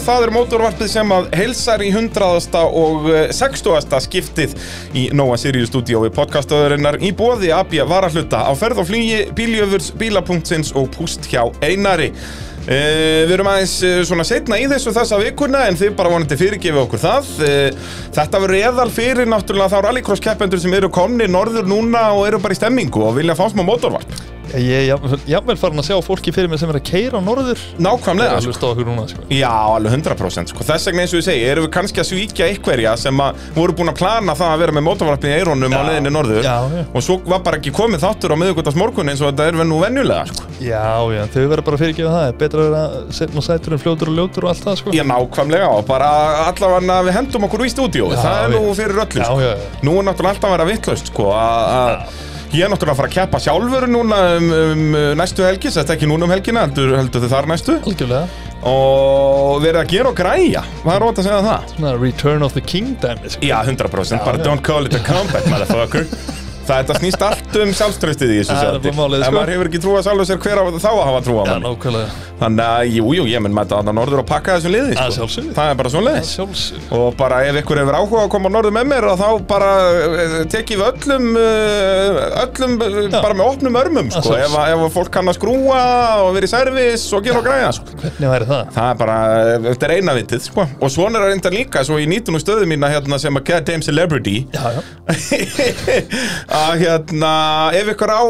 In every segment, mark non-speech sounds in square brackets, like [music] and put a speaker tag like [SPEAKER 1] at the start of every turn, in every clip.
[SPEAKER 1] það er mótorvarpið sem að heilsar í 100. og eh, 60. skiptið í Nóa Sirius stúdíói podcastöðurinnar í bóði AB varahluta á ferð og flýji bíljöfurs, bílapunktsins og púst hjá Einari. Uh, við erum aðeins uh, svona setna í þessu þessa vikuna en þið bara vonandi fyrirgefi okkur það uh, Þetta verður eðal fyrir náttúrulega þá rallycross keppendur sem eru komni norður núna og eru bara í stemmingu og vilja fá smá mótorvarp
[SPEAKER 2] Ég er jafnvel- jafnvel farin að sjá fólki fyrir mér sem er að keira á norður Það er
[SPEAKER 1] Nákvæmlega
[SPEAKER 2] að hlusta á okkur núna sko.
[SPEAKER 1] Já, alveg 100% sko. Þess vegna eins og ég segi, erum við kannski að svíkja einhverja sem að voru búin að plana það að vera með mótorvarpið í eirónum á leiðinni norður
[SPEAKER 2] Já, já.
[SPEAKER 1] og svo var bara ekki komið þáttur á miðugvöldas morgun eins og þetta er við nú venjulega sko.
[SPEAKER 2] Já, já, þau verður bara að fyrirgefa það Betra að vera setn og sætur en fljótur og ljótur og allt það sko.
[SPEAKER 1] Já, nákvæmlega og bara allavega við hendum okkur í stúdíó
[SPEAKER 2] Já,
[SPEAKER 1] það er nú
[SPEAKER 2] já.
[SPEAKER 1] fyrir öllu
[SPEAKER 2] Já,
[SPEAKER 1] sko.
[SPEAKER 2] já, já.
[SPEAKER 1] Nú er náttúrulega alltaf að vera vittlaust sko, að- að ég er náttúrulega að fara að keppa sjálfur núna um, um uh, næstu helgi þetta er ekki núna um helgina, heldur, heldur þið þar næstu
[SPEAKER 2] Algjörlega
[SPEAKER 1] og verið að gera og græja hvað er ótt að segja um það?
[SPEAKER 2] Svona Return of the King dæmi sko.
[SPEAKER 1] Já, 100% bara
[SPEAKER 2] já.
[SPEAKER 1] don't call it a comeback, motherfucker Það þetta snýst allt um sjálfströstið í þessu
[SPEAKER 2] Það er
[SPEAKER 1] sæti.
[SPEAKER 2] bara málið,
[SPEAKER 1] En
[SPEAKER 2] sko.
[SPEAKER 1] maður hefur ekki trúað sjálfur sér hver á þá að hafa trúað
[SPEAKER 2] Já,
[SPEAKER 1] manni
[SPEAKER 2] nákvæmlega
[SPEAKER 1] Þannig að, jú, jú, ég menn mæta þarna norður og pakka þessu liði
[SPEAKER 2] Að
[SPEAKER 1] sko.
[SPEAKER 2] sjálfsögðu.
[SPEAKER 1] Það er bara svona
[SPEAKER 2] Það sjálfsög
[SPEAKER 1] Og bara ef ykkur hefur áhuga að koma á norður með mér að þá bara eh, tekjum við öllum eh, öllum, eh,
[SPEAKER 2] Já.
[SPEAKER 1] bara með opnum örmum sko.
[SPEAKER 2] sjálfsögðu.
[SPEAKER 1] ef, að- ef að fólk kann að skrúa og vera í servis og gera og græja sko.
[SPEAKER 2] Hvernig væri það?
[SPEAKER 1] Það er bara, eh, þetta er eina vitið sko. Og svona er það reyndar líka, svo ég nýti nú stöðu mína hérna sem að goddamn celebrity
[SPEAKER 2] Já, já
[SPEAKER 1] að hérna, ef ykkur á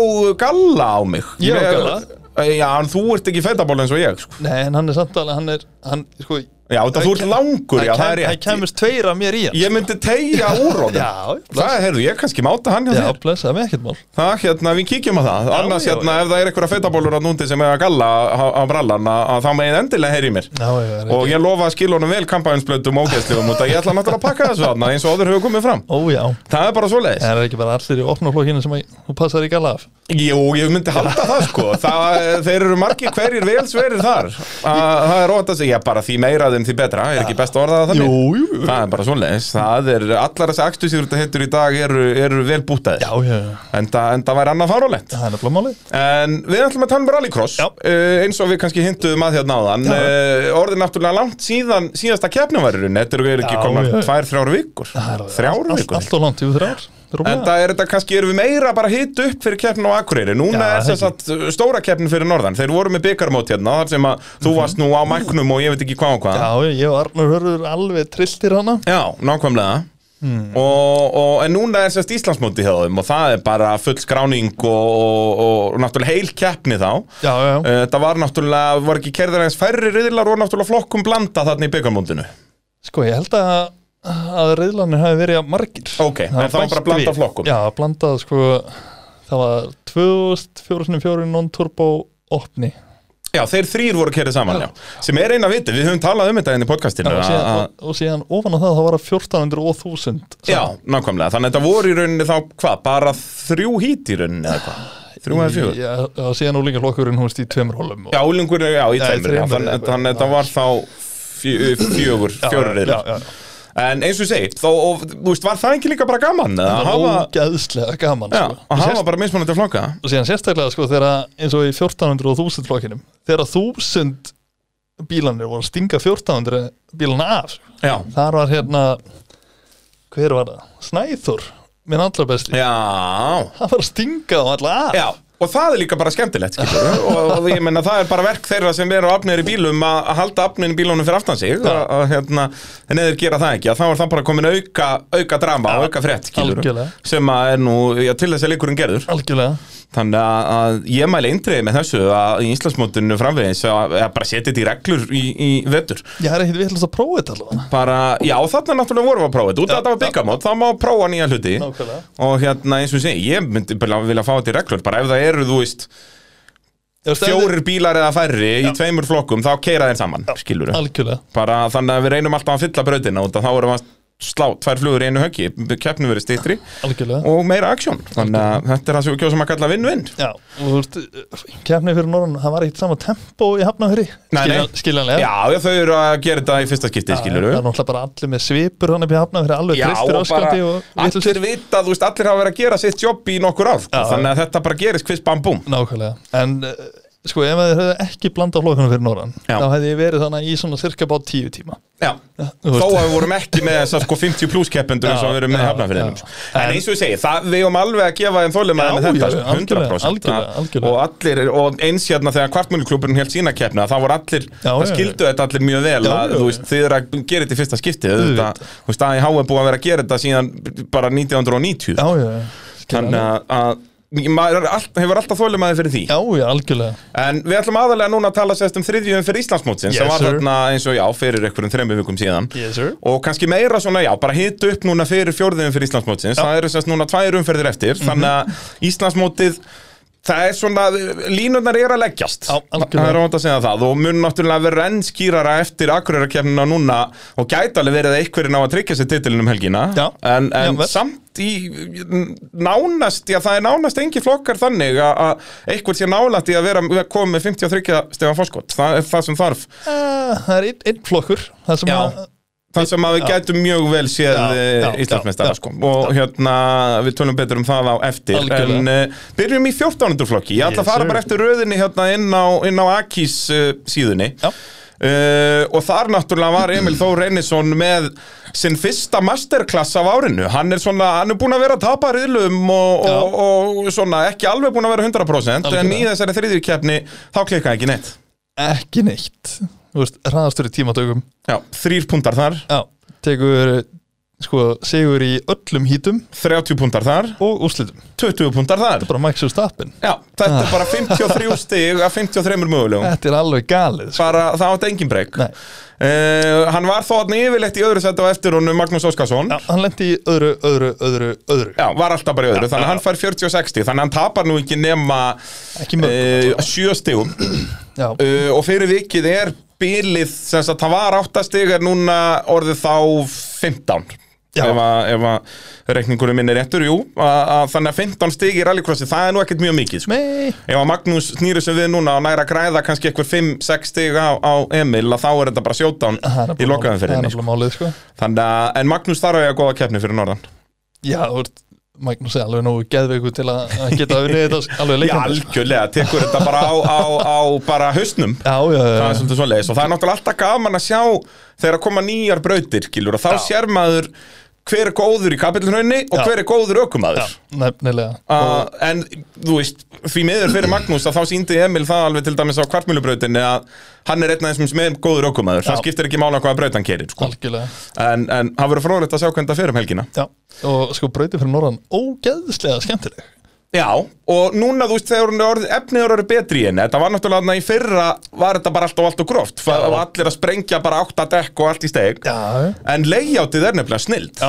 [SPEAKER 1] galla á mig
[SPEAKER 2] Ég á
[SPEAKER 1] Mér-
[SPEAKER 2] galla.
[SPEAKER 1] Já, en þú ert ekki feitaból eins og ég sko.
[SPEAKER 2] Nei, en hann er samt alveg, hann er hann, sko,
[SPEAKER 1] Já, þetta þú ert langur, já, það er
[SPEAKER 2] Það
[SPEAKER 1] rétt
[SPEAKER 2] kemur tveir af mér í hann
[SPEAKER 1] Ég myndi tegja úr honum
[SPEAKER 2] [laughs] Já,
[SPEAKER 1] Það, heyrðu, ég kannski máta hann hjá
[SPEAKER 2] já,
[SPEAKER 1] þér
[SPEAKER 2] blessaði mig ekkert mál
[SPEAKER 1] Það, hérna, við kíkjum á það Annars,
[SPEAKER 2] já,
[SPEAKER 1] hérna,
[SPEAKER 2] já.
[SPEAKER 1] ef það er einhverja feitabólur að núndi sem er að galla á, á brallan að, að það megið endilega heyri mér
[SPEAKER 2] Já, já, er
[SPEAKER 1] Og
[SPEAKER 2] ekki
[SPEAKER 1] ég lofa að skila honum vel kampænsblöndum og ógeðslifum út að ég ætla náttúrulega að pakka þessu þarna eins og áður hefur komið fram
[SPEAKER 2] Ó, já
[SPEAKER 1] Það er bara svoleiðis
[SPEAKER 2] Það er ekki bara allir í opnaflokkinu sem að, þú passar ekki alveg af
[SPEAKER 1] Jú, ég myndi halda það sko það, Þeir eru margir hverjir vel sverir þar að, Það er ótt að segja bara því meira þeim því betra Er ekki best að orða það þannig?
[SPEAKER 2] Jú, jú.
[SPEAKER 1] Það er bara svoleiðis Það er allar þessi akstusíður þetta heitur í dag eru, eru vel bútaðir
[SPEAKER 2] Já, já, já
[SPEAKER 1] En það væri annað farulegt
[SPEAKER 2] Það er nefnilega málið
[SPEAKER 1] En við ætlum að tala um rallycross
[SPEAKER 2] Já.
[SPEAKER 1] uh, eins og við kannski hinduðum að hérna áðan
[SPEAKER 2] Já.
[SPEAKER 1] uh, orðið náttúrulega langt síðan síðasta keppnumverðurinn, þetta eru er ekki
[SPEAKER 2] Já,
[SPEAKER 1] komna
[SPEAKER 2] já.
[SPEAKER 1] tvær, þrjár vikur
[SPEAKER 2] Það er-
[SPEAKER 1] þrjár
[SPEAKER 2] allt-
[SPEAKER 1] vikur
[SPEAKER 2] Allt og langt, jú, þrjár
[SPEAKER 1] En
[SPEAKER 2] Rúmlega.
[SPEAKER 1] það er þetta kannski, erum við meira bara hitt upp fyrir keppnin á Akureyri Núna
[SPEAKER 2] Já,
[SPEAKER 1] er þess að stóra keppnin fyrir norðan Þeir voru með byggarmót hérna, þar sem að þú varst nú á mæknum og ég veit ekki hvað og hvað
[SPEAKER 2] Mhm. Já, já, ég og Arnur Hörður alveg trilltir hana
[SPEAKER 1] Já, nákvæmlega
[SPEAKER 2] Hmm.
[SPEAKER 1] og, og, En núna er sérst Íslandsmóti hjá þeim og það er bara full skráning og, og, og náttúrulega heil keppni þá
[SPEAKER 2] Já, já, já
[SPEAKER 1] Eh, Þetta var náttúrulega, var ekki kerðir eins færri riðlar og náttúrulega flokkum blanda þarna í byggarmótinu
[SPEAKER 2] Sko, ég held að að reyðlanir hafi verið að margir
[SPEAKER 1] Ok, en það var bara
[SPEAKER 2] bætt
[SPEAKER 1] blanda
[SPEAKER 2] við.
[SPEAKER 1] flokkum.
[SPEAKER 2] Já, blandað sko Það var 2004 non-turbo opni
[SPEAKER 1] Já, þeir þrýr voru kerðið saman, já. Sem er eina viti, við höfum talað um þetta inn í podcastinu að-
[SPEAKER 2] og,
[SPEAKER 1] að-
[SPEAKER 2] síðan, og, og síðan ofan á það þá var það 1400 og 1000
[SPEAKER 1] Já, nákvæmlega, þannig að þetta voru í rauninni þá hvað, bara þrjú hít í rauninni eða hvað, þrjú eða fjögur
[SPEAKER 2] Já, og síðan úlingaflokkurinn húnst í tveimur hólum og...
[SPEAKER 1] Já, úlingur, já, í
[SPEAKER 2] Já, í
[SPEAKER 1] tveimur, já,
[SPEAKER 2] þremur,
[SPEAKER 1] þannig
[SPEAKER 2] já.
[SPEAKER 1] að- þannig að þetta var þá fjö- fjögur, fjórir
[SPEAKER 2] já,
[SPEAKER 1] riðlar
[SPEAKER 2] já,
[SPEAKER 1] En eins og ég segi, þó, og, þú veist, var það ekki líka bara gaman eða að
[SPEAKER 2] Það var
[SPEAKER 1] hafa,
[SPEAKER 2] ógeðslega gaman
[SPEAKER 1] já,
[SPEAKER 2] sko.
[SPEAKER 1] að
[SPEAKER 2] Og
[SPEAKER 1] hafa bara mismunandi flokka
[SPEAKER 2] og síðan sérstaklega sko þegar að- eins og í 1400 og 1000 flokkinum þegar 1000 bílanir voru að stinga 1400 bílana af sko.
[SPEAKER 1] Já,
[SPEAKER 2] þar var hérna hver var það? Snæþór minn allra besti
[SPEAKER 1] já,
[SPEAKER 2] hann var að stinga á alla af
[SPEAKER 1] já Og það er líka bara skemmtilegt, skilur og, og ég menna, það er bara verk þeirra sem eru afnir í bílum að að halda afnir í bílunum fyrir aftan sig að, að, hérna, En eða þeir gera það ekki, að þá er það bara komin auka, auka drama og auka frétt, skilur
[SPEAKER 2] Algjörlega.
[SPEAKER 1] Sem að er nú, já, til þess að leikurinn gerður
[SPEAKER 2] algjörlega
[SPEAKER 1] Þannig að, að ég mæli eindriði með þessu að í Íslandsmótinu framvegis að, að bara setja þetta í reglur í, í vetur
[SPEAKER 2] ég er ekkert villast að prófa þetta allavega
[SPEAKER 1] bara, já þarna náttúrulega vorum við að prófa þetta út að þetta var byggamót, þá má prófa nýja hluti
[SPEAKER 2] Nákvæmlega.
[SPEAKER 1] og hérna eins og sé, ég myndi bara vilja fá þetta í reglur, bara ef það eru þú veist,
[SPEAKER 2] Ég veist, ef þið-
[SPEAKER 1] fjórir bílar eða færri í tveimur flokkum, þá keira þeir saman, skilur
[SPEAKER 2] algjörlega
[SPEAKER 1] bara þannig að við reynum alltaf að fylla brautina út að þá erum við að slá tvær flugur í einu höggi, keppnum verið stýttri
[SPEAKER 2] algjörlega
[SPEAKER 1] og meira aksjón, þannig að þetta er það sem við kjóðum að kalla vinn-vinn
[SPEAKER 2] Já, og þú veist, kefnið fyrir norðan, það var ekkert sama tempo í hafnafyrir
[SPEAKER 1] Nei, nei.
[SPEAKER 2] Skiljanlega
[SPEAKER 1] Já, já, þau eru að gera þetta í fyrsta skipti, skilur
[SPEAKER 2] Það er náttúrulega bara allir með svipur hann upp í hafna fyrir alveg
[SPEAKER 1] Já,
[SPEAKER 2] tristir
[SPEAKER 1] og bara
[SPEAKER 2] öskandi og
[SPEAKER 1] allir
[SPEAKER 2] vitlausir.
[SPEAKER 1] vita, þú veist, allir hafa verið að gera sitt jobb í nokkur ár, sko,
[SPEAKER 2] Já, já.
[SPEAKER 1] þannig að þetta bara gerist hvist bambúm.
[SPEAKER 2] Nákvæmlega En uh, sko, ef þeir hefði ekki blanda flokkana fyrir norðan
[SPEAKER 1] Já.
[SPEAKER 2] þá hefði ég verið þannig í svona cirka bát tíu tíma
[SPEAKER 1] Já,
[SPEAKER 2] þú
[SPEAKER 1] þó
[SPEAKER 2] veist.
[SPEAKER 1] að við vorum ekki með þessar sko 50 pluss keppendur eins og
[SPEAKER 2] Já,
[SPEAKER 1] við erum með hérna
[SPEAKER 2] já,
[SPEAKER 1] hafnafyrinum
[SPEAKER 2] já.
[SPEAKER 1] sko. En
[SPEAKER 2] En-
[SPEAKER 1] eins og ég segi, það, við erum alveg að gefa þeim
[SPEAKER 2] Já,
[SPEAKER 1] þólimaðin
[SPEAKER 2] já,
[SPEAKER 1] þetta,
[SPEAKER 2] já,
[SPEAKER 1] sko,
[SPEAKER 2] algjörlega,
[SPEAKER 1] 100%
[SPEAKER 2] algjörlega, algjörlega.
[SPEAKER 1] Og allir, og eins hérna þegar kvartmöluklubburinn held sína keppna, það voru allir,
[SPEAKER 2] Já,
[SPEAKER 1] það
[SPEAKER 2] já, já.
[SPEAKER 1] skildu þetta allir mjög vel
[SPEAKER 2] Já,
[SPEAKER 1] að,
[SPEAKER 2] já,
[SPEAKER 1] þú
[SPEAKER 2] já.
[SPEAKER 1] veist, þið eru að gera þetta í fyrsta skipti
[SPEAKER 2] Auðvitað.
[SPEAKER 1] auðvitað, Þú veist, AIH er búið að vera að gera þetta síðan bara 1990
[SPEAKER 2] já, já, já.
[SPEAKER 1] Þannig að, að maður er all, hefur alltaf þólimaðin fyrir því
[SPEAKER 2] já, já, algjörlega
[SPEAKER 1] En við ætlum aðalega núna að tala sérst um þriðjum fyrir Íslandsmótsins sem
[SPEAKER 2] Yes,
[SPEAKER 1] var
[SPEAKER 2] sir.
[SPEAKER 1] þarna eins og já, fyrir einhverjum þreymum vikum síðan
[SPEAKER 2] yes, sir
[SPEAKER 1] og kannski meira svona, já, bara hita upp núna fyrir fjórðum fyrir Íslandsmótsins, það eru sérst núna tvær umferðir eftir,
[SPEAKER 2] Mhm.
[SPEAKER 1] þannig að Íslandsmótið það er svona, línurnar er að leggjast,
[SPEAKER 2] Já, algjörlega.
[SPEAKER 1] það er óvænt að segja það og mun náttúrulega vera enn skýrara eftir akkurýrakefnina núna og gæti alveg verið að einhverjir ná að tryggja sér titilin um helgina
[SPEAKER 2] Já.
[SPEAKER 1] en, en
[SPEAKER 2] Jafnvel.
[SPEAKER 1] samt í nánast, já það er nánast engi flokkar þannig að- að einhver sé nálætt í að vera að koma með 53 stegan fórskot, það er það sem þarf
[SPEAKER 2] Uh, það er einn, einn flokkur það sem
[SPEAKER 1] Já.
[SPEAKER 2] að
[SPEAKER 1] Það sem að við gætum mjög vel séð eh,
[SPEAKER 2] Já, já, já,
[SPEAKER 1] Íslandsmeistar
[SPEAKER 2] já.
[SPEAKER 1] sko. og hérna við tölum betur um það á eftir
[SPEAKER 2] Algjörlega.
[SPEAKER 1] en uh, byrjum í 14. flokki ég ætla
[SPEAKER 2] Yes,
[SPEAKER 1] að fara
[SPEAKER 2] sir.
[SPEAKER 1] bara eftir röðinni hérna inn á, inn á Akis uh, síðunni
[SPEAKER 2] Já.
[SPEAKER 1] Uh, og þar náttúrulega var Emil Þór Reynisson með sinn fyrsta masterklass af árinu hann er svona, hann er búin að vera að tapa riðlum og, og, og svona ekki alveg búin að vera 100% en í
[SPEAKER 2] Algjörlega.
[SPEAKER 1] þessari þriðju keppni þá klikkaði ekki neitt
[SPEAKER 2] ekki neitt þú veist, hraðastur í tímatökum
[SPEAKER 1] já, þrýr puntar þar,
[SPEAKER 2] já, tekur sko, sigur í öllum hítum
[SPEAKER 1] 30 puntar þar
[SPEAKER 2] og úrslitum
[SPEAKER 1] 20 puntar þar
[SPEAKER 2] bara Max Verstappen
[SPEAKER 1] Já, þetta er bara 53 stig af 53 mögulegum
[SPEAKER 2] Ah. þetta er alveg galið sko.
[SPEAKER 1] bara það átti engin breyk uh,
[SPEAKER 2] Nei.
[SPEAKER 1] hann var þó hann yfirleitt í öðru seti á eftir honum Magnús Óskarsson
[SPEAKER 2] já,
[SPEAKER 1] já.
[SPEAKER 2] hann lendi í öðru, öðru, öðru, öðru
[SPEAKER 1] var alltaf bara í öðru, þannig að hann fær 40 og 60 þannig að hann tapar nú ekki nema
[SPEAKER 2] ekki mörg
[SPEAKER 1] uh, 7 stigum
[SPEAKER 2] já,
[SPEAKER 1] uh, og fyrir vikið er bilið sem sagt, það var 8 stig er núna orðið þá 15
[SPEAKER 2] Já.
[SPEAKER 1] ef að, ef að reikningurum minn er réttur, jú að, að, þannig að 15 stig í rallycrossi, það er nú ekkert mjög mikið sko.
[SPEAKER 2] mei
[SPEAKER 1] Ef að Magnús snýri sem við núna og næra græða kannski eitthvað 5-6 stig á, á Emil að þá er þetta bara sjótán
[SPEAKER 2] Það er
[SPEAKER 1] í
[SPEAKER 2] nefnilega-
[SPEAKER 1] lokaðum fyrir
[SPEAKER 2] það er
[SPEAKER 1] henni sko.
[SPEAKER 2] nefnilega málið sko.
[SPEAKER 1] Þannig að, en Magnús þarf að eiga góða keppni fyrir norðan
[SPEAKER 2] já, þú veist, Magnús er alveg nógu geðveiku til að að geta unnið þetta alveg
[SPEAKER 1] Já,
[SPEAKER 2] leikandi sko.
[SPEAKER 1] algjörlega, tekur þetta bara á, á, á bara hausnum
[SPEAKER 2] já, já, já,
[SPEAKER 1] Það er
[SPEAKER 2] já.
[SPEAKER 1] svolítið svoleiðis og það er náttúrulega alltaf gaman að sjá þegar að koma nýjar brautir, gilur og þá sér maður hver er góður í kapillunni og
[SPEAKER 2] Já.
[SPEAKER 1] hver er góður ökumaður
[SPEAKER 2] já nefnilega
[SPEAKER 1] Uh, en þú veist, því miður fyrir Magnús að þá síndi Emil það alveg til dæmis á kvartmjölubrautinni að hann er einn af þessum sem er góður okkumæður, það
[SPEAKER 2] Já.
[SPEAKER 1] skiptir ekki mála hvaða braut hann kerir, sko.
[SPEAKER 2] algjörlega
[SPEAKER 1] en, en hann verður fróðlegt að sjá hvernig það fyrir um helgina
[SPEAKER 2] já. og sko brautin fyrir norðan ógeðslega skemmtileg
[SPEAKER 1] Já, og núna þú veist þegar hún er orðið, efnið eru orðið betri í henni þetta var náttúrulega þarna í fyrra, var þetta bara allt og allt og gróft, það var allir að sprengja bara átta dekk og allt í steg
[SPEAKER 2] já,
[SPEAKER 1] en layoutið er nefnilega snild
[SPEAKER 2] já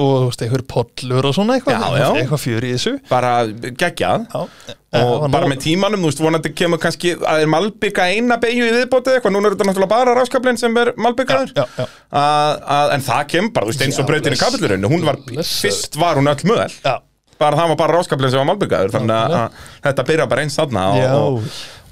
[SPEAKER 2] og þú veist, einhver pollur og svona eitthvað
[SPEAKER 1] Já,
[SPEAKER 2] þú veist,
[SPEAKER 1] já.
[SPEAKER 2] eitthvað fjör í þessu
[SPEAKER 1] bara geggjað
[SPEAKER 2] já, eh,
[SPEAKER 1] og bara með tímanum, þú veist, vonandi kemur kannski að er Malbika eina beigju í viðbótið eitthvað, núna er þetta náttúrulega bara ráskablinn sem er Malbikaður,
[SPEAKER 2] Já, já, já.
[SPEAKER 1] Að- að- en það kemur bara, þú veist, eins og
[SPEAKER 2] Já,
[SPEAKER 1] breytin í
[SPEAKER 2] bless-
[SPEAKER 1] kapillurinu, hún var,
[SPEAKER 2] blessaður.
[SPEAKER 1] fyrst var hún öll möðel
[SPEAKER 2] já,
[SPEAKER 1] bara það var bara ráskablinn sem var Malbikaður þannig að, að þetta byrja bara eins þarna og,
[SPEAKER 2] Já.
[SPEAKER 1] og,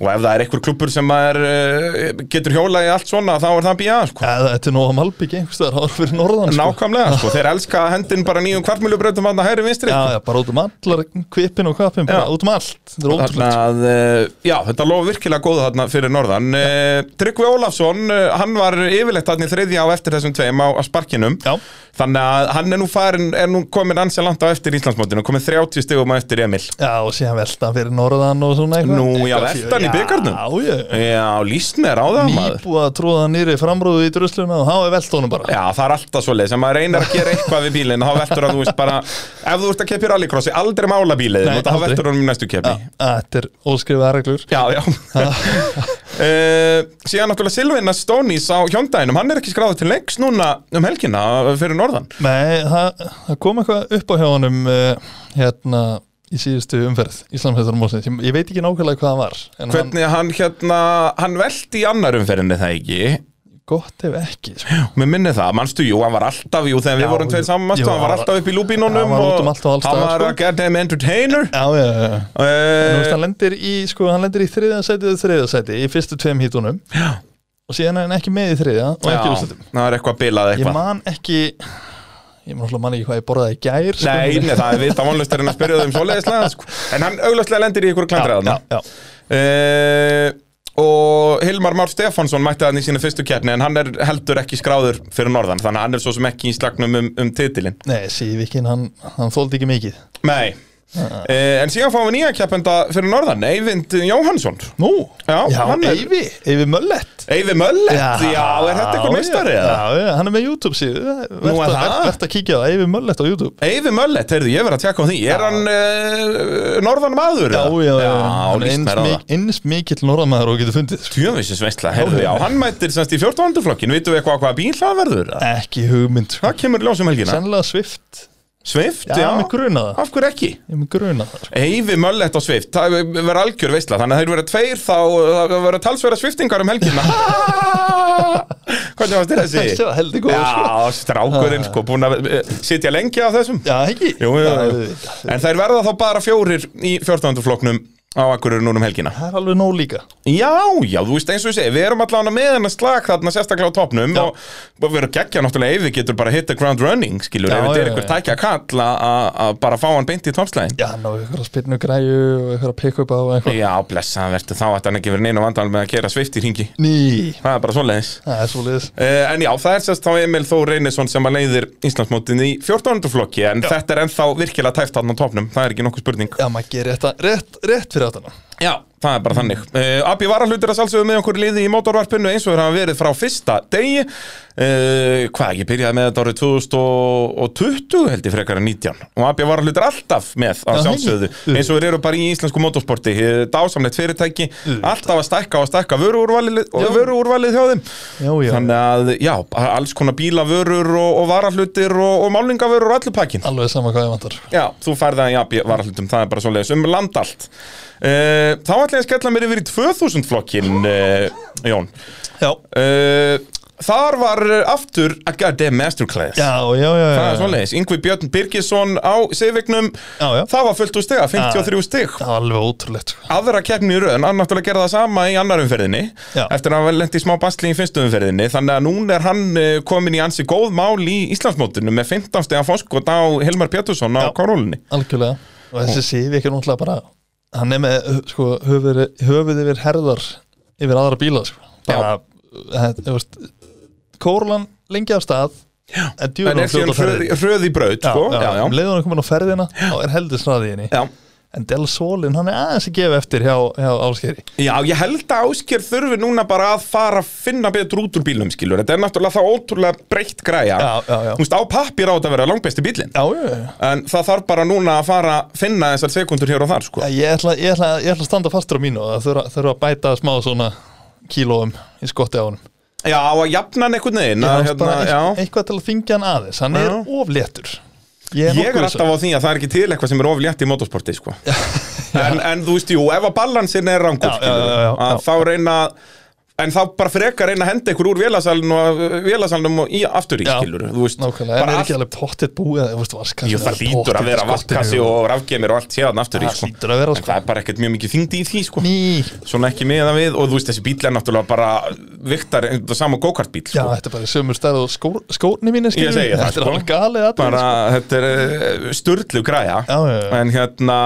[SPEAKER 1] og ef það er einhver klubur sem er, eh, getur hjóla í allt svona þá er það BIA, sko
[SPEAKER 2] eða þetta er nóg að malbyggi einhverstaðar ára fyrir norðan sko.
[SPEAKER 1] Nákvæmlega, sko, þeir elska hendin bara nýjum kvartmjölubrautum hann að hægri vinstri
[SPEAKER 2] já, já, bara út um allar kvipin og kvapin, bara
[SPEAKER 1] Já.
[SPEAKER 2] út um allt þetta er
[SPEAKER 1] Þarna,
[SPEAKER 2] ótrúlega
[SPEAKER 1] að, eh, já, þetta lofa virkilega góða þarna fyrir norðan ja. Tryggvi Ólafsson, eh, hann var yfirleitt þarna í þriðja á eftir þessum tveim á, á sparkinum
[SPEAKER 2] já,
[SPEAKER 1] Þannig að hann er nú farin, er nú komin ansi langt á eftir Íslandsmótinu Komin 30 stigum á eftir Emil
[SPEAKER 2] já, og síðan velta fyrir norðan og svona eitthvað
[SPEAKER 1] Nú, já,
[SPEAKER 2] Eitthvað
[SPEAKER 1] veltan í
[SPEAKER 2] fjör.
[SPEAKER 1] bikarnum.
[SPEAKER 2] já, já,
[SPEAKER 1] Já, lístnir á það maður
[SPEAKER 2] nýbúið að tróða nýri framrúðu í drusluna og hafa velt honum bara
[SPEAKER 1] Já, það er alltaf svo leið sem maður reynir að gera eitthvað við bílinn þá veltur að þú veist bara ef þú ert að keppi rallycrossi, aldrei mála bílinn
[SPEAKER 2] Nei,
[SPEAKER 1] og þá
[SPEAKER 2] aldrei.
[SPEAKER 1] veltur hann um næstu keppi
[SPEAKER 2] Já, þetta er óskrifaða reglur
[SPEAKER 1] Já, já [laughs] uh, Síðan náttúrulega Silvina Stónis á hjóndæðinum Hann er ekki skráður til leiks núna um helgina uh, fyrir norðan
[SPEAKER 2] Nei, það, það kom eitthvað upp á hjá honum uh, hérna í síðustu umferð Íslamhættarmósins, ég, ég veit ekki nákvæmlega hvað það var en hann
[SPEAKER 1] Hvernig hann hérna, hann velti í annar umferðinni það ekki
[SPEAKER 2] gott ef ekki sko.
[SPEAKER 1] Mér minni það, mannstu, jú, hann var alltaf, jú, þegar
[SPEAKER 2] Já,
[SPEAKER 1] við vorum tveir
[SPEAKER 2] jú.
[SPEAKER 1] saman
[SPEAKER 2] Jú,
[SPEAKER 1] Jú, hann var
[SPEAKER 2] hann var-
[SPEAKER 1] alltaf upp í lúbínunum
[SPEAKER 2] Já, hann var út um allt og alls
[SPEAKER 1] Hann
[SPEAKER 2] staðar,
[SPEAKER 1] var
[SPEAKER 2] sko.
[SPEAKER 1] að gera þeim entertainer
[SPEAKER 2] Já, já, já, já En þú veist,
[SPEAKER 1] uh,
[SPEAKER 2] hann lendir í, sko, hann lendir í þriða sæti eða þriða sæti í fyrstu tveim hítunum já. og síðan er hann ekki með í þriða og
[SPEAKER 1] Já,
[SPEAKER 2] ekki úrstættum
[SPEAKER 1] það er eitthvað bilað
[SPEAKER 2] Ég
[SPEAKER 1] eitthvað
[SPEAKER 2] man ekki ég man alltaf man ekki hvað ég borðaði í gær sko.
[SPEAKER 1] Nei, nei, það er vita vonlust er hann að spyrja þau um svoleiðislega sko. En hann auglustlega lendir í ykkur
[SPEAKER 2] já,
[SPEAKER 1] klandraðna
[SPEAKER 2] já, já.
[SPEAKER 1] Eh, og Hilmar Már Stefánsson mætti hann í sína fyrstu keppni en hann er heldur ekki skráður fyrir norðan þannig að hann er svo sem ekki í slagnum um, um titilin
[SPEAKER 2] Nei, Sývikin, hann, hann þóldi ekki mikið
[SPEAKER 1] Nei eh, En síðan fáum við nýja keppenda fyrir norðan Eyvind Jóhansson
[SPEAKER 2] Nú,
[SPEAKER 1] Já,
[SPEAKER 2] já
[SPEAKER 1] hann er-
[SPEAKER 2] Eyvi, Eyvi Möllett
[SPEAKER 1] Eyvi Möllet, já, er þetta eitthvað
[SPEAKER 2] já,
[SPEAKER 1] meistari
[SPEAKER 2] já,
[SPEAKER 1] eða?
[SPEAKER 2] já, já, hann er með YouTube síðu
[SPEAKER 1] Nú, er
[SPEAKER 2] Vert
[SPEAKER 1] það?
[SPEAKER 2] að- vert að kíkja á Eyvi Möllett á YouTube
[SPEAKER 1] Eyvi Möllet, heyrðu, ég verð að tjekka á því Er hann uh, norðan maður?
[SPEAKER 2] Já,
[SPEAKER 1] eða?
[SPEAKER 2] já, já,
[SPEAKER 1] já
[SPEAKER 2] hann er
[SPEAKER 1] líst
[SPEAKER 2] eins,
[SPEAKER 1] mér á það
[SPEAKER 2] mik eins mikill norðamæður og getur fundið sko.
[SPEAKER 1] Tjöfisins veistla, heyrðu, já, hann mættir semst í 14. flokkin, vitum við eitthvað hvað bíl það verður? eða?
[SPEAKER 2] Ekki hugmynd sko.
[SPEAKER 1] Hvað kemur í ljós um helgina?
[SPEAKER 2] Sennilega Swift
[SPEAKER 1] Svift,
[SPEAKER 2] Já,
[SPEAKER 1] já,
[SPEAKER 2] mig grunaði það
[SPEAKER 1] af hverju ekki?
[SPEAKER 2] Ég með gruna það sko.
[SPEAKER 1] Eyfi Möllett og Svift, það verður algjör veistla Þannig að þeir verða tveir þá Það verður talsverða sviftingar um helgina Hvernig varst þér þessi?
[SPEAKER 2] Þessi var heldig góð sko.
[SPEAKER 1] Já, strákurinn sko Búin að eh, sitja lengi á þessum
[SPEAKER 2] Já, ekki
[SPEAKER 1] Jú, jú,
[SPEAKER 2] Já,
[SPEAKER 1] jú.
[SPEAKER 2] auðvitað.
[SPEAKER 1] En þær verða þá bara fjórir í 14. flokknum á akkurir núna um helgina
[SPEAKER 2] Það er alveg nóg líka
[SPEAKER 1] Já, já, þú veist eins og ég segi, við erum allavega með hennar slag þarna sérstaklega á topnum og og við erum geggja náttúrulega ef við getur bara hit the ground running skilur,
[SPEAKER 2] Já,
[SPEAKER 1] ef þetta er
[SPEAKER 2] já,
[SPEAKER 1] einhver
[SPEAKER 2] já.
[SPEAKER 1] tækja kall að- að að bara fá hann beint í topslæðin
[SPEAKER 2] Já, ná, ykkur að spilnu græju og ykkur að pick up á eitthvað
[SPEAKER 1] Já, blessaðan verður þá ætti hann ekki verið neina vandal með að kera svift í ringi
[SPEAKER 2] Ný,
[SPEAKER 1] Það er bara svoleiðis
[SPEAKER 2] það er svo liðis
[SPEAKER 1] uh, En já, það er sérst þá Emil Þór Reynisson sem að leiðir Íslandsmótin í 14. flokki En þetta er ennþá virkilega tæft hann á topnum Það er ekki nokkuð spurning
[SPEAKER 2] Já, maður gerir þetta rétt, rétt fyrir áttana
[SPEAKER 1] Já, það er bara þannig uh, Abbi Varahlutur að sálsögum með okkur í liði í mótorvarpinu eins og þeir hafa verið frá fyrsta degi uh, Hvað, ég byrjaði með þetta árið 2020 held ég frekar en 19 og Abbi Varahlutur alltaf með að
[SPEAKER 2] Já,
[SPEAKER 1] sjálfsögðu
[SPEAKER 2] hei.
[SPEAKER 1] eins og þeir eru bara í íslensku mótorsporti eh, dásamlegt fyrirtæki, alltaf að stækka og stækka vöruúrvalið,
[SPEAKER 2] Já.
[SPEAKER 1] vöruúrvalið hjá þeim
[SPEAKER 2] Já, já,
[SPEAKER 1] Þannig að, já, alls konar bílavörur og, og varahlutir og, og málningavörur og allir pakkin
[SPEAKER 2] alveg sama hvað ég vantar
[SPEAKER 1] Já, þú færði það í AB varahlutum, það er bara svo leiðis um land allt uh, Þá ætla ég að skella mér yfir í 2000 flokkin, uh, Jón
[SPEAKER 2] Já,
[SPEAKER 1] uh, Þar var eh, aftur a goddamn masterclass
[SPEAKER 2] já, já, já, já.
[SPEAKER 1] Það er svoleiðis, Yngvi Björn Birgisson á Seivignum
[SPEAKER 2] Já, já.
[SPEAKER 1] Það var fullt úr stiga, 53 stig
[SPEAKER 2] Það var alveg ótrúlegt sko.
[SPEAKER 1] aðra keppni í raun, hann náttúrulega gerði það sama í annar umferðinni
[SPEAKER 2] Já.
[SPEAKER 1] eftir að hann lendi í smá basli í fyrstu umferðinni þannig að núna er hann eh, komin í ansi góð mál í Íslandsmótinu með 15 stegan foskot á Helmar Pétursson á
[SPEAKER 2] Já.
[SPEAKER 1] korólunni
[SPEAKER 2] Algjörlega Og þessi Sivik er náttúrulega bara Hann er með sko, höfuð, höfuð yfir herðar Yfir aðra bíla sko. Bara þetta, þú veist, Kórlan lengi af stað já. En
[SPEAKER 1] en
[SPEAKER 2] djúðan
[SPEAKER 1] er síðan
[SPEAKER 2] fljóta
[SPEAKER 1] hröð,
[SPEAKER 2] ferðin
[SPEAKER 1] hröð í braut
[SPEAKER 2] Já,
[SPEAKER 1] sko.
[SPEAKER 2] já,
[SPEAKER 1] já,
[SPEAKER 2] um
[SPEAKER 1] já.
[SPEAKER 2] leiðan er komin á ferðina þá er heldur sraðið henni
[SPEAKER 1] Já.
[SPEAKER 2] en Del Solin, hann er aðeins að gefa eftir hjá, hjá Áskeri
[SPEAKER 1] já, ég held að Ásker þurfi núna bara að fara að finna betur út úr bílnum skilur, þetta er náttúrulega það ótrúlega breytt græja
[SPEAKER 2] Já, já, já.
[SPEAKER 1] Þú veist, á pappir á þetta að vera langbesti bílinn
[SPEAKER 2] Já, já, já
[SPEAKER 1] en það þarf bara núna að fara að finna þessar sekundur hér og þar sko.
[SPEAKER 2] Já, Ég ætla, ég, ætla, ég ætla að standa fastur á mínu og það þurfa, þurfa að bæta smá svona kílóum í skotti á honum
[SPEAKER 1] já, að jafna hann einhvern veginn
[SPEAKER 2] Ég
[SPEAKER 1] að, hérna,
[SPEAKER 2] hans bara
[SPEAKER 1] já.
[SPEAKER 2] eitthvað, eitthvað til að þingja hann aðeins hann er ofléttur Ég
[SPEAKER 1] Ég er
[SPEAKER 2] nokkuð um
[SPEAKER 1] alltaf á því að það er ekki til eitthvað sem er oflétt í motorsporti
[SPEAKER 2] [laughs]
[SPEAKER 1] sko. en, en þú veist, jú, ef að balansin er rangur
[SPEAKER 2] Já,
[SPEAKER 1] skilur,
[SPEAKER 2] já, já, já,
[SPEAKER 1] að
[SPEAKER 2] já.
[SPEAKER 1] þá reyna en þá bara frekar reyna að henda ykkur úr vélasalinn og vélasalnum og í aftur í
[SPEAKER 2] Já,
[SPEAKER 1] skilur þú veist,
[SPEAKER 2] um- nákvæmlega, en
[SPEAKER 1] bara
[SPEAKER 2] er
[SPEAKER 1] allt,
[SPEAKER 2] ekki alveg pottitt búið eða, þú veist, vatskassi
[SPEAKER 1] jú, það lítur að vera vattkassi og rafgemir og allt séðan aftur í
[SPEAKER 2] Það
[SPEAKER 1] sko.
[SPEAKER 2] hlýtur að vera,
[SPEAKER 1] en
[SPEAKER 2] sko.
[SPEAKER 1] það er bara ekkert mjög mikið þyngdi í því sko.
[SPEAKER 2] Ný,
[SPEAKER 1] svona ekki meða við og þú veist, þessi bíl er náttúrulega bara viktar, saman gókart bíl
[SPEAKER 2] já,
[SPEAKER 1] sko.
[SPEAKER 2] þetta er bara sömur stærð og skór, skórni mínu
[SPEAKER 1] Ég segi það,
[SPEAKER 2] Þetta er
[SPEAKER 1] sko.
[SPEAKER 2] alveg galið atriði,
[SPEAKER 1] bara, þetta er störtlu græja
[SPEAKER 2] sko. Já, já, já.
[SPEAKER 1] en hérna,